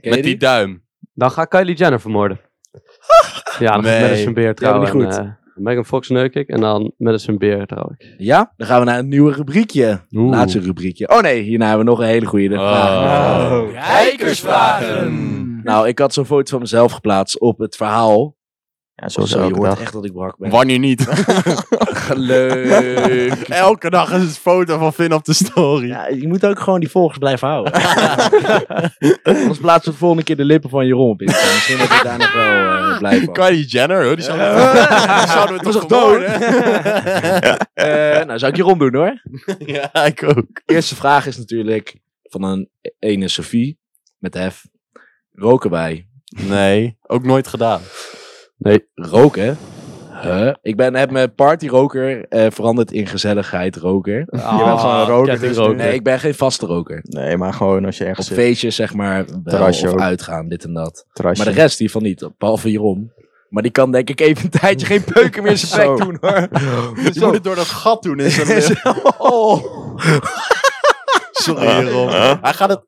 [SPEAKER 2] Ken je
[SPEAKER 1] Met die duim.
[SPEAKER 4] Dan ga ik Kylie Jenner vermoorden. Ja, dan
[SPEAKER 1] Nee.
[SPEAKER 4] met Madison Beer trouwen.
[SPEAKER 2] niet goed.
[SPEAKER 4] en, eh, Megan Fox neuk ik en dan Madison Beer trouw ik.
[SPEAKER 2] Ja? Dan gaan we naar een nieuwe rubriekje.
[SPEAKER 1] Oeh.
[SPEAKER 2] Laatste rubriekje. Oh nee, hierna hebben we nog een hele goede vraag.
[SPEAKER 1] Oh.
[SPEAKER 3] Oh.
[SPEAKER 1] Kijkersvragen.
[SPEAKER 2] Nou, ik had zo'n foto van mezelf geplaatst op het verhaal.
[SPEAKER 3] Ja, zo
[SPEAKER 2] Zo,
[SPEAKER 3] is elke
[SPEAKER 2] je hoort
[SPEAKER 3] dag.
[SPEAKER 2] echt dat ik brak ben.
[SPEAKER 1] Wanneer niet?
[SPEAKER 2] Leuk.
[SPEAKER 1] Elke dag is het foto van Vin op de story.
[SPEAKER 2] Ja, je moet ook gewoon die volgers blijven houden. Anders plaatsen we de volgende keer de lippen van Jeroen op Instagram. Misschien dat je daar nog wel eh, blij van.
[SPEAKER 1] Kylie Jenner, hoor. Die zouden we, die zouden we
[SPEAKER 2] Dat
[SPEAKER 1] toch
[SPEAKER 2] is toch
[SPEAKER 1] vermoorden?
[SPEAKER 2] Eh, nou, zou ik Jeroen doen hoor.
[SPEAKER 1] ja, ik ook.
[SPEAKER 2] Eerste vraag is natuurlijk van een ene Sophie met F. Roken wij?
[SPEAKER 1] Nee, ook nooit gedaan.
[SPEAKER 2] Roken? Huh? Ik ben, heb mijn partyroker eh veranderd in gezelligheid roker.
[SPEAKER 3] Je bent
[SPEAKER 4] Ah,
[SPEAKER 3] gewoon een roker. dus nu-
[SPEAKER 2] Nee, ik ben geen vaste roker.
[SPEAKER 3] Nee, maar gewoon als je
[SPEAKER 2] Op
[SPEAKER 3] ergens zit.
[SPEAKER 2] feestjes zeg maar, wel,
[SPEAKER 3] Terrasje
[SPEAKER 2] of
[SPEAKER 3] ook.
[SPEAKER 2] uitgaan, dit en dat.
[SPEAKER 3] Terrasje.
[SPEAKER 2] Maar de rest hiervan niet, behalve Jeroen. Maar die kan denk ik even een tijdje geen peuken meer in zijn bek
[SPEAKER 3] Zo.
[SPEAKER 2] doen hoor.
[SPEAKER 1] Je moet het door dat gat doen. In zijn Oh. Sorry, Jeroen. Hij gaat het,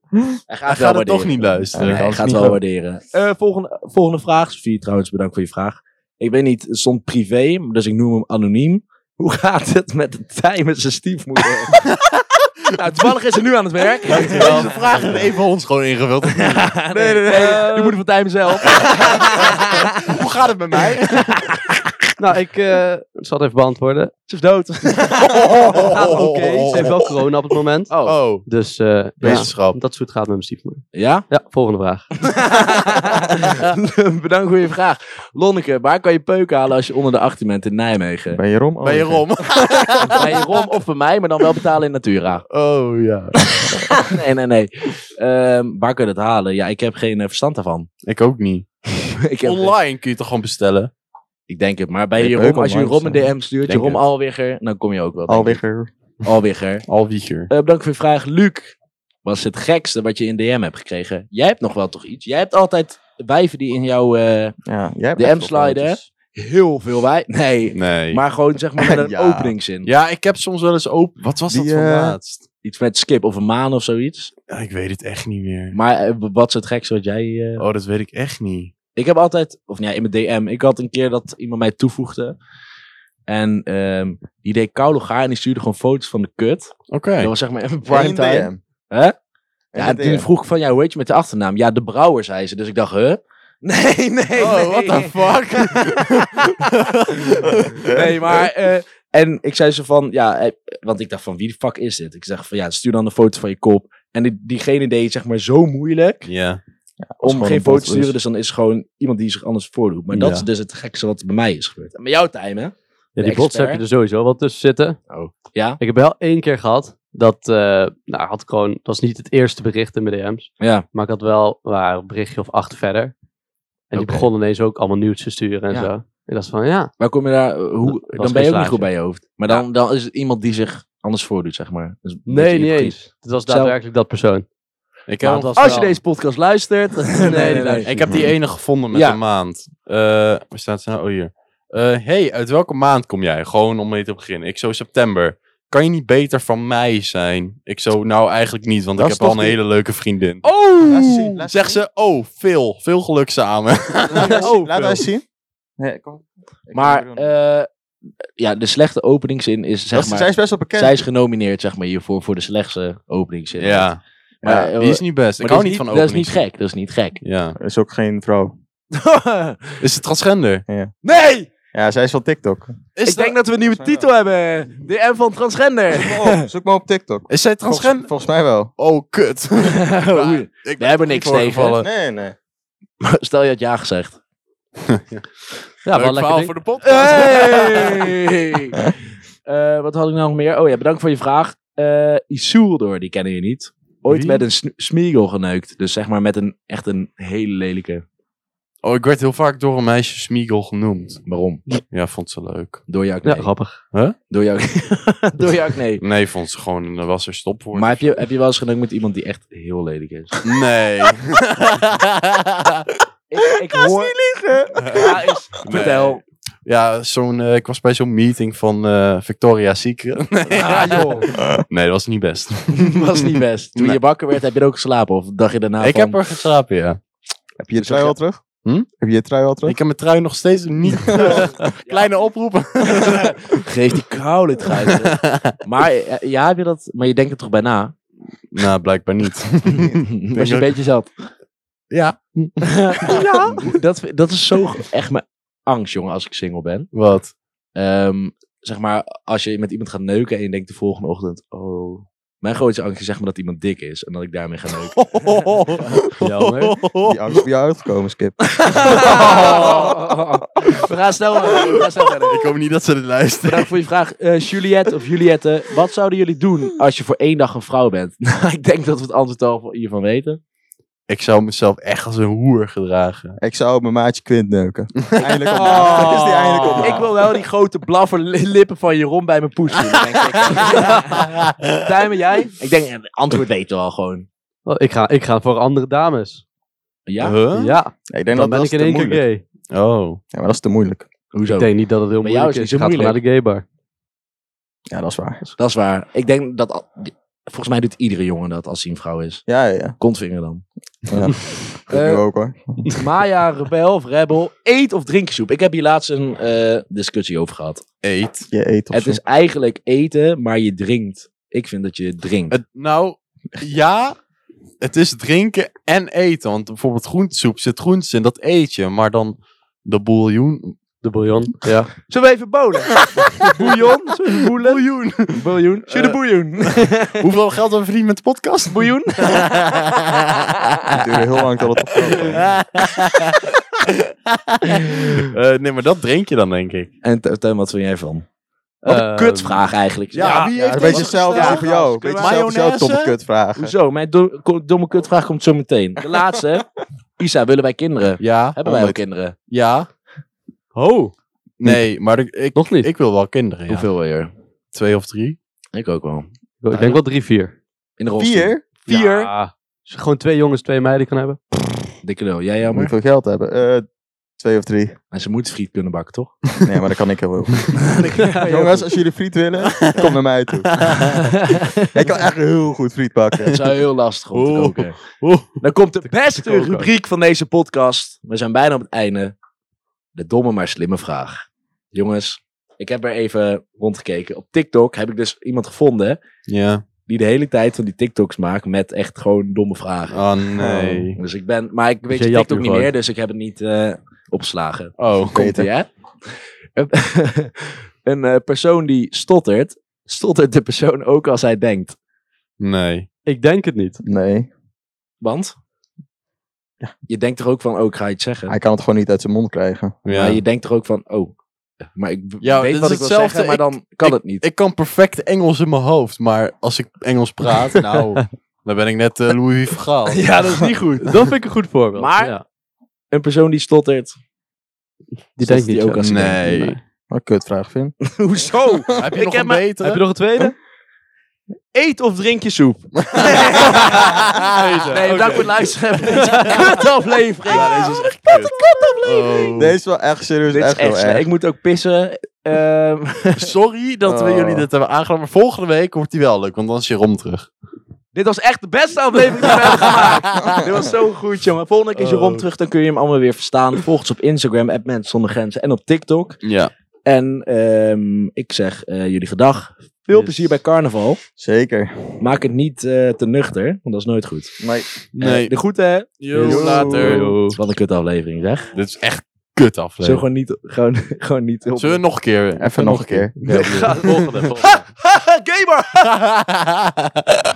[SPEAKER 2] Hij gaat,
[SPEAKER 1] hij gaat
[SPEAKER 2] het wel
[SPEAKER 1] het toch
[SPEAKER 2] waarderen.
[SPEAKER 1] niet luisteren.
[SPEAKER 2] Nee, hij
[SPEAKER 3] Anders
[SPEAKER 2] gaat
[SPEAKER 3] niet
[SPEAKER 2] het wel
[SPEAKER 3] ook.
[SPEAKER 2] waarderen. Eh, volgende, volgende vraag. Sophie, trouwens, bedankt voor je vraag. Ik weet niet, het stond privé, dus ik noem hem anoniem. Hoe gaat het met de tijd met zijn stiefmoeder? Nou, toevallig is ze nu aan het werk.
[SPEAKER 1] Deze vraag heeft even ons gewoon ingevuld.
[SPEAKER 2] nee, nee, nee. Nu moet ik van tijd mezelf.
[SPEAKER 1] Hoe gaat het met mij?
[SPEAKER 4] Nou, ik eh, zal het even beantwoorden.
[SPEAKER 2] Ze is dood.
[SPEAKER 4] Gaat het oké. Ze heeft wel corona op het moment.
[SPEAKER 1] Oh,
[SPEAKER 4] Dus eh ja,
[SPEAKER 1] wetenschap.
[SPEAKER 4] dat is hoe het gaat met mijn stiefmoeder.
[SPEAKER 2] Ja?
[SPEAKER 4] Ja, volgende vraag.
[SPEAKER 2] Bedankt voor je vraag. Lonneke, waar kan je peuk halen als je onder de 18 bent in Nijmegen?
[SPEAKER 3] Ben je Rom? Oh,
[SPEAKER 1] Ben je
[SPEAKER 3] oké.
[SPEAKER 1] rom?
[SPEAKER 2] Bij je Rom of bij mij, maar dan wel betalen in Natura.
[SPEAKER 1] Oh ja.
[SPEAKER 2] Nee, nee, nee. Ehm, waar kun je dat halen? Ja, ik heb geen eh, verstand daarvan.
[SPEAKER 1] Ik ook niet.
[SPEAKER 2] ik, heb geen-
[SPEAKER 1] Online kun je toch gewoon bestellen?
[SPEAKER 2] ik denk het, maar bij
[SPEAKER 3] Je
[SPEAKER 2] je
[SPEAKER 3] peuk
[SPEAKER 2] Rom, als je
[SPEAKER 3] online
[SPEAKER 2] Rom een DM stuurt, je
[SPEAKER 1] Denk
[SPEAKER 2] Rom
[SPEAKER 1] het.
[SPEAKER 2] Alwigger, dan kom je ook wel. denk ik.
[SPEAKER 3] Alwigger.
[SPEAKER 2] Alwigger.
[SPEAKER 1] Alwieger.
[SPEAKER 2] Eh, bedankt voor je vraag. Luc, wat is het gekste wat je in DM hebt gekregen? Jij hebt nog wel toch iets? Jij hebt altijd wijven die in jouw eh,
[SPEAKER 3] Ja, jij hebt
[SPEAKER 2] DM
[SPEAKER 3] echt wel
[SPEAKER 2] slide, hè?
[SPEAKER 3] foto's.
[SPEAKER 2] heel veel wij. Nee,
[SPEAKER 1] Nee.
[SPEAKER 2] maar gewoon zeg maar met een
[SPEAKER 3] Ja.
[SPEAKER 2] openingszin.
[SPEAKER 1] Ja, ik heb soms wel eens open... Wat was dat
[SPEAKER 3] Die,
[SPEAKER 1] voor
[SPEAKER 3] eh,
[SPEAKER 1] laatst?
[SPEAKER 2] Iets met skip of een maan of zoiets.
[SPEAKER 1] Ja, ik weet het echt niet meer.
[SPEAKER 2] Maar eh, wat is het gekste wat jij... eh,
[SPEAKER 1] Oh, dat weet ik echt niet.
[SPEAKER 2] Ik heb altijd, of nou ja, in mijn DM, ik had een keer dat iemand mij toevoegde. En ehm, die deed koude gaar en die stuurde gewoon foto's van de kut.
[SPEAKER 1] Oké.
[SPEAKER 2] Dat was zeg maar even
[SPEAKER 3] In
[SPEAKER 2] prime
[SPEAKER 3] een
[SPEAKER 2] time.
[SPEAKER 3] DM.
[SPEAKER 2] Hè?
[SPEAKER 3] In
[SPEAKER 2] Ja,
[SPEAKER 3] een
[SPEAKER 2] toen
[SPEAKER 3] DM.
[SPEAKER 2] vroeg ik van, ja, hoe heet je met de achternaam? Ja, de Brouwer, zei ze. Dus ik dacht, huh? Nee, nee,
[SPEAKER 1] Oh, what the fuck?
[SPEAKER 2] nee, maar... eh, en ik zei ze van, ja, eh, want ik dacht van, wie de fuck is dit? Ik zeg van, ja, stuur dan een foto van je kop. En die, diegene deed het zeg maar zo moeilijk
[SPEAKER 1] ja.
[SPEAKER 3] was
[SPEAKER 2] om
[SPEAKER 3] gewoon
[SPEAKER 2] geen
[SPEAKER 3] een
[SPEAKER 2] foto te
[SPEAKER 3] bot
[SPEAKER 2] sturen.
[SPEAKER 3] dus.
[SPEAKER 2] Dus dan is het gewoon iemand die zich anders voordoet. Maar dat
[SPEAKER 1] Ja.
[SPEAKER 2] is dus het gekste wat bij mij is gebeurd. En bij jou, Tijm, hè?
[SPEAKER 4] Ja,
[SPEAKER 2] De
[SPEAKER 4] die bots
[SPEAKER 2] expert.
[SPEAKER 4] heb je er sowieso wel tussen zitten.
[SPEAKER 2] Ja.
[SPEAKER 4] Ik heb wel één keer gehad dat, eh, nou, had ik gewoon, dat was niet het eerste bericht in mijn DM's,
[SPEAKER 2] Ja.
[SPEAKER 4] maar ik had wel waar, een berichtje of acht verder. En die
[SPEAKER 2] Oké.
[SPEAKER 4] begonnen ineens ook allemaal nieuws te sturen en
[SPEAKER 2] Ja.
[SPEAKER 4] zo. Ik dacht van, ja,
[SPEAKER 2] Waar kom je daar? eh, Hoe,
[SPEAKER 4] Dat was
[SPEAKER 2] dan
[SPEAKER 4] geen
[SPEAKER 2] ben je ook niet
[SPEAKER 4] slaatje.
[SPEAKER 2] goed bij je hoofd. Maar dan, dan is het iemand die zich anders voordoet, zeg maar. Dus een beetje
[SPEAKER 4] nee, niet
[SPEAKER 2] hypocriet.
[SPEAKER 4] eens. Het was
[SPEAKER 2] Zelf-
[SPEAKER 4] daadwerkelijk dat persoon.
[SPEAKER 1] Ik
[SPEAKER 4] Maar
[SPEAKER 1] heb,
[SPEAKER 4] het was
[SPEAKER 2] Als je
[SPEAKER 4] wel-
[SPEAKER 2] deze podcast luistert. nee, nee, nee. Hmm.
[SPEAKER 1] ik heb die ene gevonden met
[SPEAKER 2] Ja.
[SPEAKER 1] een maand. Eh, waar staat ze nou? Oh, hier. Eh, hey, uit welke maand kom jij? Gewoon om mee te beginnen. Ik zo september. Kan je niet beter van mei zijn? Ik zo, nou eigenlijk niet, want
[SPEAKER 3] Dat
[SPEAKER 1] ik
[SPEAKER 3] is
[SPEAKER 1] heb al een
[SPEAKER 3] toch die-
[SPEAKER 1] hele leuke vriendin.
[SPEAKER 3] Laat zien,
[SPEAKER 2] Oh!
[SPEAKER 3] laat
[SPEAKER 1] Zeg ze, oh, veel. Veel geluk samen.
[SPEAKER 3] Laat eens zien.
[SPEAKER 2] Oh,
[SPEAKER 3] Laat
[SPEAKER 1] wel.
[SPEAKER 3] eens zien. Nee, kom. Ik
[SPEAKER 2] Maar,
[SPEAKER 3] kan het doen.
[SPEAKER 2] eh, ja, de slechte openingszin is,
[SPEAKER 3] Dat
[SPEAKER 2] zeg
[SPEAKER 3] is-
[SPEAKER 2] maar.
[SPEAKER 3] zij is best wel bekend.
[SPEAKER 2] Zij is genomineerd, zeg maar, hiervoor voor de slechtste openingszin.
[SPEAKER 1] ja.
[SPEAKER 2] Maar,
[SPEAKER 1] Maar,
[SPEAKER 2] eh,
[SPEAKER 1] die is niet best. Ik
[SPEAKER 2] Maar dat
[SPEAKER 1] hou
[SPEAKER 2] is
[SPEAKER 1] niet van
[SPEAKER 2] Dat is niet
[SPEAKER 1] openingszin.
[SPEAKER 2] gek, dat is niet gek.
[SPEAKER 1] Ja.
[SPEAKER 3] Is ook geen vrouw.
[SPEAKER 1] Is het transgender?
[SPEAKER 2] nee!
[SPEAKER 3] Ja, zij is van TikTok.
[SPEAKER 1] Is,
[SPEAKER 2] ik denk dat we een nieuwe
[SPEAKER 3] Zijn
[SPEAKER 2] titel hebben. DM van transgender.
[SPEAKER 3] Zoek maar op TikTok.
[SPEAKER 1] is zij
[SPEAKER 3] Volgens,
[SPEAKER 1] transgender?
[SPEAKER 3] volgens mij wel.
[SPEAKER 1] Oh, kut.
[SPEAKER 2] Oei.
[SPEAKER 1] Ik
[SPEAKER 2] We hebben niks tegen.
[SPEAKER 1] voorgevallen.
[SPEAKER 3] Nee, nee.
[SPEAKER 2] Stel je had ja gezegd.
[SPEAKER 4] Ja,
[SPEAKER 1] Leuk
[SPEAKER 4] wel lekker.
[SPEAKER 1] verhaal
[SPEAKER 4] ding.
[SPEAKER 1] voor de podcast.
[SPEAKER 2] Hey! Eh, wat had ik nou nog meer? Oh ja, bedankt voor je vraag. Eh Isildur, die kennen je niet. Ooit
[SPEAKER 1] Wie?
[SPEAKER 2] met een sn- Smeagol geneukt. Dus zeg maar met een echt een hele lelijke.
[SPEAKER 1] Oh, ik werd heel vaak door een meisje Smiegel genoemd.
[SPEAKER 2] Waarom?
[SPEAKER 1] Ja, vond ze leuk.
[SPEAKER 2] Door jou ook
[SPEAKER 4] Ja,
[SPEAKER 2] nee.
[SPEAKER 4] grappig.
[SPEAKER 2] Door jou Door jou ook nee.
[SPEAKER 1] Nee, vond ze gewoon, dat was er stopwoord.
[SPEAKER 2] Maar heb je, heb je wel eens geneukt met iemand die echt heel lelijk is?
[SPEAKER 1] Nee.
[SPEAKER 2] ik, ik hoor... Ja, is... Vertel.
[SPEAKER 1] Ja, zo'n, eh, ik was bij zo'n meeting van eh, Victoria's Secret.
[SPEAKER 2] Ah, joh.
[SPEAKER 1] Nee, dat was niet best.
[SPEAKER 2] was niet best. Toen
[SPEAKER 1] Nee.
[SPEAKER 2] je wakker werd, heb je er ook geslapen? Of dacht je daarna
[SPEAKER 1] ik
[SPEAKER 2] van...
[SPEAKER 1] heb er geslapen, ja.
[SPEAKER 3] Heb je je
[SPEAKER 2] Dus
[SPEAKER 3] trui
[SPEAKER 2] zeg-
[SPEAKER 3] al terug?
[SPEAKER 1] Hm?
[SPEAKER 3] Heb je je trui al terug?
[SPEAKER 1] Ik heb mijn trui nog steeds niet terug. Kleine oproepen.
[SPEAKER 2] Geef die koude trui. terug. maar eh, ja, heb je dat... Maar je denkt er toch bij na?
[SPEAKER 1] nou, blijkbaar niet.
[SPEAKER 2] Was je een
[SPEAKER 1] ook.
[SPEAKER 2] beetje zat?
[SPEAKER 1] ja.
[SPEAKER 2] ja. Dat, dat is zo g- echt mijn angst, jongen, als ik single ben.
[SPEAKER 1] Wat?
[SPEAKER 2] Ehm, zeg maar, als je met iemand gaat neuken en je denkt de volgende ochtend, oh... Mijn grootste angst is zeg maar dat iemand dik is en dat ik daarmee ga neuken. Oh.
[SPEAKER 4] Jammer.
[SPEAKER 3] Die angst is bij jou uitgekomen, Skip.
[SPEAKER 1] Oh.
[SPEAKER 2] We gaan snel verder, we gaan snel verder.
[SPEAKER 1] Ik hoop niet dat ze dit luisteren.
[SPEAKER 2] Bedankt voor je vraag. Eh, Juliette of Juliette, wat zouden jullie doen als je voor één dag een vrouw bent? Nou, ik denk dat we het antwoord al hiervan weten.
[SPEAKER 1] Ik zou mezelf echt als een hoer gedragen.
[SPEAKER 3] Ik zou mijn maatje Quint neuken. Eindelijk op Dat is die eindelijk op
[SPEAKER 2] Oh. Ik wil wel die grote blaffer li- lippen van Jeroen bij mijn poes zien, denk ik. Tijmen, jij? Ik denk, eh, antwoord weten we al gewoon.
[SPEAKER 4] Oh, Ik ga, ik ga voor andere dames.
[SPEAKER 2] Ja?
[SPEAKER 1] Huh?
[SPEAKER 4] Ja,
[SPEAKER 3] Ik denk
[SPEAKER 4] dan
[SPEAKER 3] dat
[SPEAKER 4] ben
[SPEAKER 3] dat
[SPEAKER 4] ik
[SPEAKER 3] is
[SPEAKER 4] in
[SPEAKER 3] te
[SPEAKER 4] één keer
[SPEAKER 3] moeilijk.
[SPEAKER 4] gay.
[SPEAKER 1] Oh.
[SPEAKER 3] Ja, maar dat is te moeilijk.
[SPEAKER 2] Hoezo?
[SPEAKER 4] Ik denk niet dat het heel
[SPEAKER 2] Bij jou
[SPEAKER 4] moeilijk
[SPEAKER 2] is
[SPEAKER 4] is.
[SPEAKER 2] het
[SPEAKER 4] Je
[SPEAKER 2] niet zo
[SPEAKER 4] gaat gewoon naar de gaybar.
[SPEAKER 3] Ja, dat is waar.
[SPEAKER 2] Dat is waar. Ik denk dat... al- die- Volgens mij doet iedere jongen dat als hij een vrouw is.
[SPEAKER 3] Ja, ja, ja.
[SPEAKER 2] Kontvinger dan.
[SPEAKER 3] ja. Dat
[SPEAKER 2] Eh,
[SPEAKER 3] nu ook hoor.
[SPEAKER 2] Maya, Rebel of Rebel, eet of drink je soep? Ik heb hier laatst een eh, discussie over gehad.
[SPEAKER 1] Eet.
[SPEAKER 3] Je eet of
[SPEAKER 2] Het
[SPEAKER 3] zo.
[SPEAKER 2] is eigenlijk eten, maar je drinkt Ik vind dat je drinkt.
[SPEAKER 1] Het- nou, ja, het is drinken en eten. Want bijvoorbeeld groentesoep zit groentes in, dat eet je. Maar dan de bouillon...
[SPEAKER 4] De bouillon. Eh,
[SPEAKER 1] Ja.
[SPEAKER 2] Zullen we even bolen?
[SPEAKER 1] Bouillon? Bouillon.
[SPEAKER 2] Biljoen.
[SPEAKER 1] Should a
[SPEAKER 2] boeien.
[SPEAKER 1] Hoeveel geld hebben we verdiend met de podcast?
[SPEAKER 2] Boeien.
[SPEAKER 3] Het duurde heel lang tot het opkwam.
[SPEAKER 1] Eh, nee, maar dat drink je dan, denk ik.
[SPEAKER 2] En Th- Teun, wat vind jij van? Wat een
[SPEAKER 4] Ehm,
[SPEAKER 2] kutvraag eigenlijk.
[SPEAKER 1] ja, wie
[SPEAKER 3] Ja,
[SPEAKER 1] heeft deze
[SPEAKER 3] een beetje hetzelfde als die voor jou. Een beetje hetzelfde als jouw
[SPEAKER 1] Mayonaise?
[SPEAKER 3] domme kutvragen.
[SPEAKER 2] Hoezo? Mijn do- ko- domme kutvraag komt zo meteen. De laatste. hè. Isa, willen wij kinderen?
[SPEAKER 1] Ja.
[SPEAKER 2] Hebben wij ook kinderen?
[SPEAKER 1] Ja.
[SPEAKER 4] Oh,
[SPEAKER 1] Nee, maar ik, ik,
[SPEAKER 4] nog niet. Ik,
[SPEAKER 1] ik wil wel kinderen, ja.
[SPEAKER 2] Hoeveel wil je?
[SPEAKER 1] Twee of drie.
[SPEAKER 2] Ik ook wel.
[SPEAKER 4] denk wel drie, vier.
[SPEAKER 2] In de rolstoel.
[SPEAKER 3] Vier?
[SPEAKER 2] Vier?
[SPEAKER 4] Ja. Als je gewoon twee jongens, twee meiden kan hebben.
[SPEAKER 2] Dikke lul. Jij
[SPEAKER 3] Moet je
[SPEAKER 2] jammer.
[SPEAKER 3] veel geld hebben? Eh, twee of drie.
[SPEAKER 2] En ze moet friet kunnen bakken, toch?
[SPEAKER 3] Nee, maar dat kan ik heel goed. Jongens, als jullie friet willen, kom naar mij toe. ik kan echt heel goed friet bakken.
[SPEAKER 2] Dat zou heel lastig om te
[SPEAKER 1] Oeh.
[SPEAKER 2] koken.
[SPEAKER 1] Oeh.
[SPEAKER 2] Dan komt de beste
[SPEAKER 4] koken.
[SPEAKER 2] rubriek van deze podcast. We zijn bijna op het einde. De domme maar slimme vraag. Jongens, ik heb er even rondgekeken. Op TikTok heb ik dus iemand gevonden
[SPEAKER 1] Ja.
[SPEAKER 2] die de hele tijd van die TikToks maakt met echt gewoon domme vragen.
[SPEAKER 1] Oh, nee.
[SPEAKER 2] Dus ik ben, maar ik weet
[SPEAKER 4] jij
[SPEAKER 2] je
[SPEAKER 4] japt
[SPEAKER 2] TikTok
[SPEAKER 4] nu
[SPEAKER 2] niet
[SPEAKER 4] gewoon.
[SPEAKER 2] meer, dus ik heb het niet eh, opgeslagen.
[SPEAKER 1] Oh.
[SPEAKER 2] Komt ie, hè? een eh, persoon die stottert, stottert de persoon ook als hij denkt.
[SPEAKER 1] Nee.
[SPEAKER 4] Ik denk het niet.
[SPEAKER 3] Nee,
[SPEAKER 2] Want? Je denkt er ook van, oh, ik ga iets zeggen.
[SPEAKER 3] hij kan het gewoon niet uit zijn mond krijgen.
[SPEAKER 1] Ja.
[SPEAKER 2] Maar je denkt er ook van, oh, maar ik b-
[SPEAKER 1] Ja, dit
[SPEAKER 2] weet
[SPEAKER 1] is
[SPEAKER 2] wat ik wil
[SPEAKER 1] hetzelfde.
[SPEAKER 2] zeggen, maar dan kan het niet.
[SPEAKER 1] Ik kan perfect Engels in mijn hoofd, maar als ik Engels praat, nou, dan ben ik net eh, Louis Vergaal.
[SPEAKER 2] ja, dat is niet goed.
[SPEAKER 4] Dat vind ik een goed voorbeeld.
[SPEAKER 2] Maar-
[SPEAKER 4] Ja.
[SPEAKER 2] Een persoon die stottert,
[SPEAKER 4] Die
[SPEAKER 2] Zodat
[SPEAKER 4] denkt niet
[SPEAKER 2] die ook
[SPEAKER 4] zo.
[SPEAKER 2] als-
[SPEAKER 1] Nee.
[SPEAKER 3] Wat een kutvraag, Vin.
[SPEAKER 2] hoezo?
[SPEAKER 1] Heb je
[SPEAKER 2] Ik
[SPEAKER 1] nog
[SPEAKER 2] heb
[SPEAKER 1] een
[SPEAKER 2] maar-
[SPEAKER 1] betere?
[SPEAKER 4] Heb je nog een tweede?
[SPEAKER 2] Eet of drink je soep? nee, bedankt voor het luisteren. naar Deze kutaflevering.
[SPEAKER 1] Ja, deze is echt Ah, kut. Oh.
[SPEAKER 3] Deze is wel echt serieus,
[SPEAKER 2] Dit is
[SPEAKER 3] echt heel
[SPEAKER 2] echt
[SPEAKER 3] erg.
[SPEAKER 2] slecht. Ik moet ook pissen. Ehm,
[SPEAKER 1] Sorry dat we
[SPEAKER 3] Oh.
[SPEAKER 1] jullie dit hebben aangedaan, maar volgende week wordt die wel leuk, want dan is je rom terug.
[SPEAKER 2] Dit was echt de beste aflevering die we hebben gemaakt. Dit was zo goed, jongen. Volgende keer is je
[SPEAKER 4] Oh.
[SPEAKER 2] rond terug, dan kun je hem allemaal weer verstaan. Volg ons op Instagram, at Mensen Zonder Grenzen en op TikTok.
[SPEAKER 1] Ja.
[SPEAKER 2] En ehm, ik zeg eh, jullie gedag. Veel
[SPEAKER 4] Yes.
[SPEAKER 2] plezier bij carnaval.
[SPEAKER 3] Zeker.
[SPEAKER 2] Maak het niet eh, te nuchter, want dat is nooit goed.
[SPEAKER 3] Nee.
[SPEAKER 1] Nee.
[SPEAKER 2] Eh, de groeten, hè?
[SPEAKER 1] Yo,
[SPEAKER 3] Yo.
[SPEAKER 1] later.
[SPEAKER 4] Yo.
[SPEAKER 2] Wat een kut aflevering, zeg.
[SPEAKER 1] Dit is echt kut
[SPEAKER 2] Zo
[SPEAKER 1] aflevering.
[SPEAKER 2] gewoon niet, gewoon, gewoon niet op.
[SPEAKER 1] Zullen we nog een keer?
[SPEAKER 3] Even nog een keer.
[SPEAKER 1] Ja,
[SPEAKER 4] Volgende, volgende.
[SPEAKER 2] Gamer!
[SPEAKER 1] bedoel-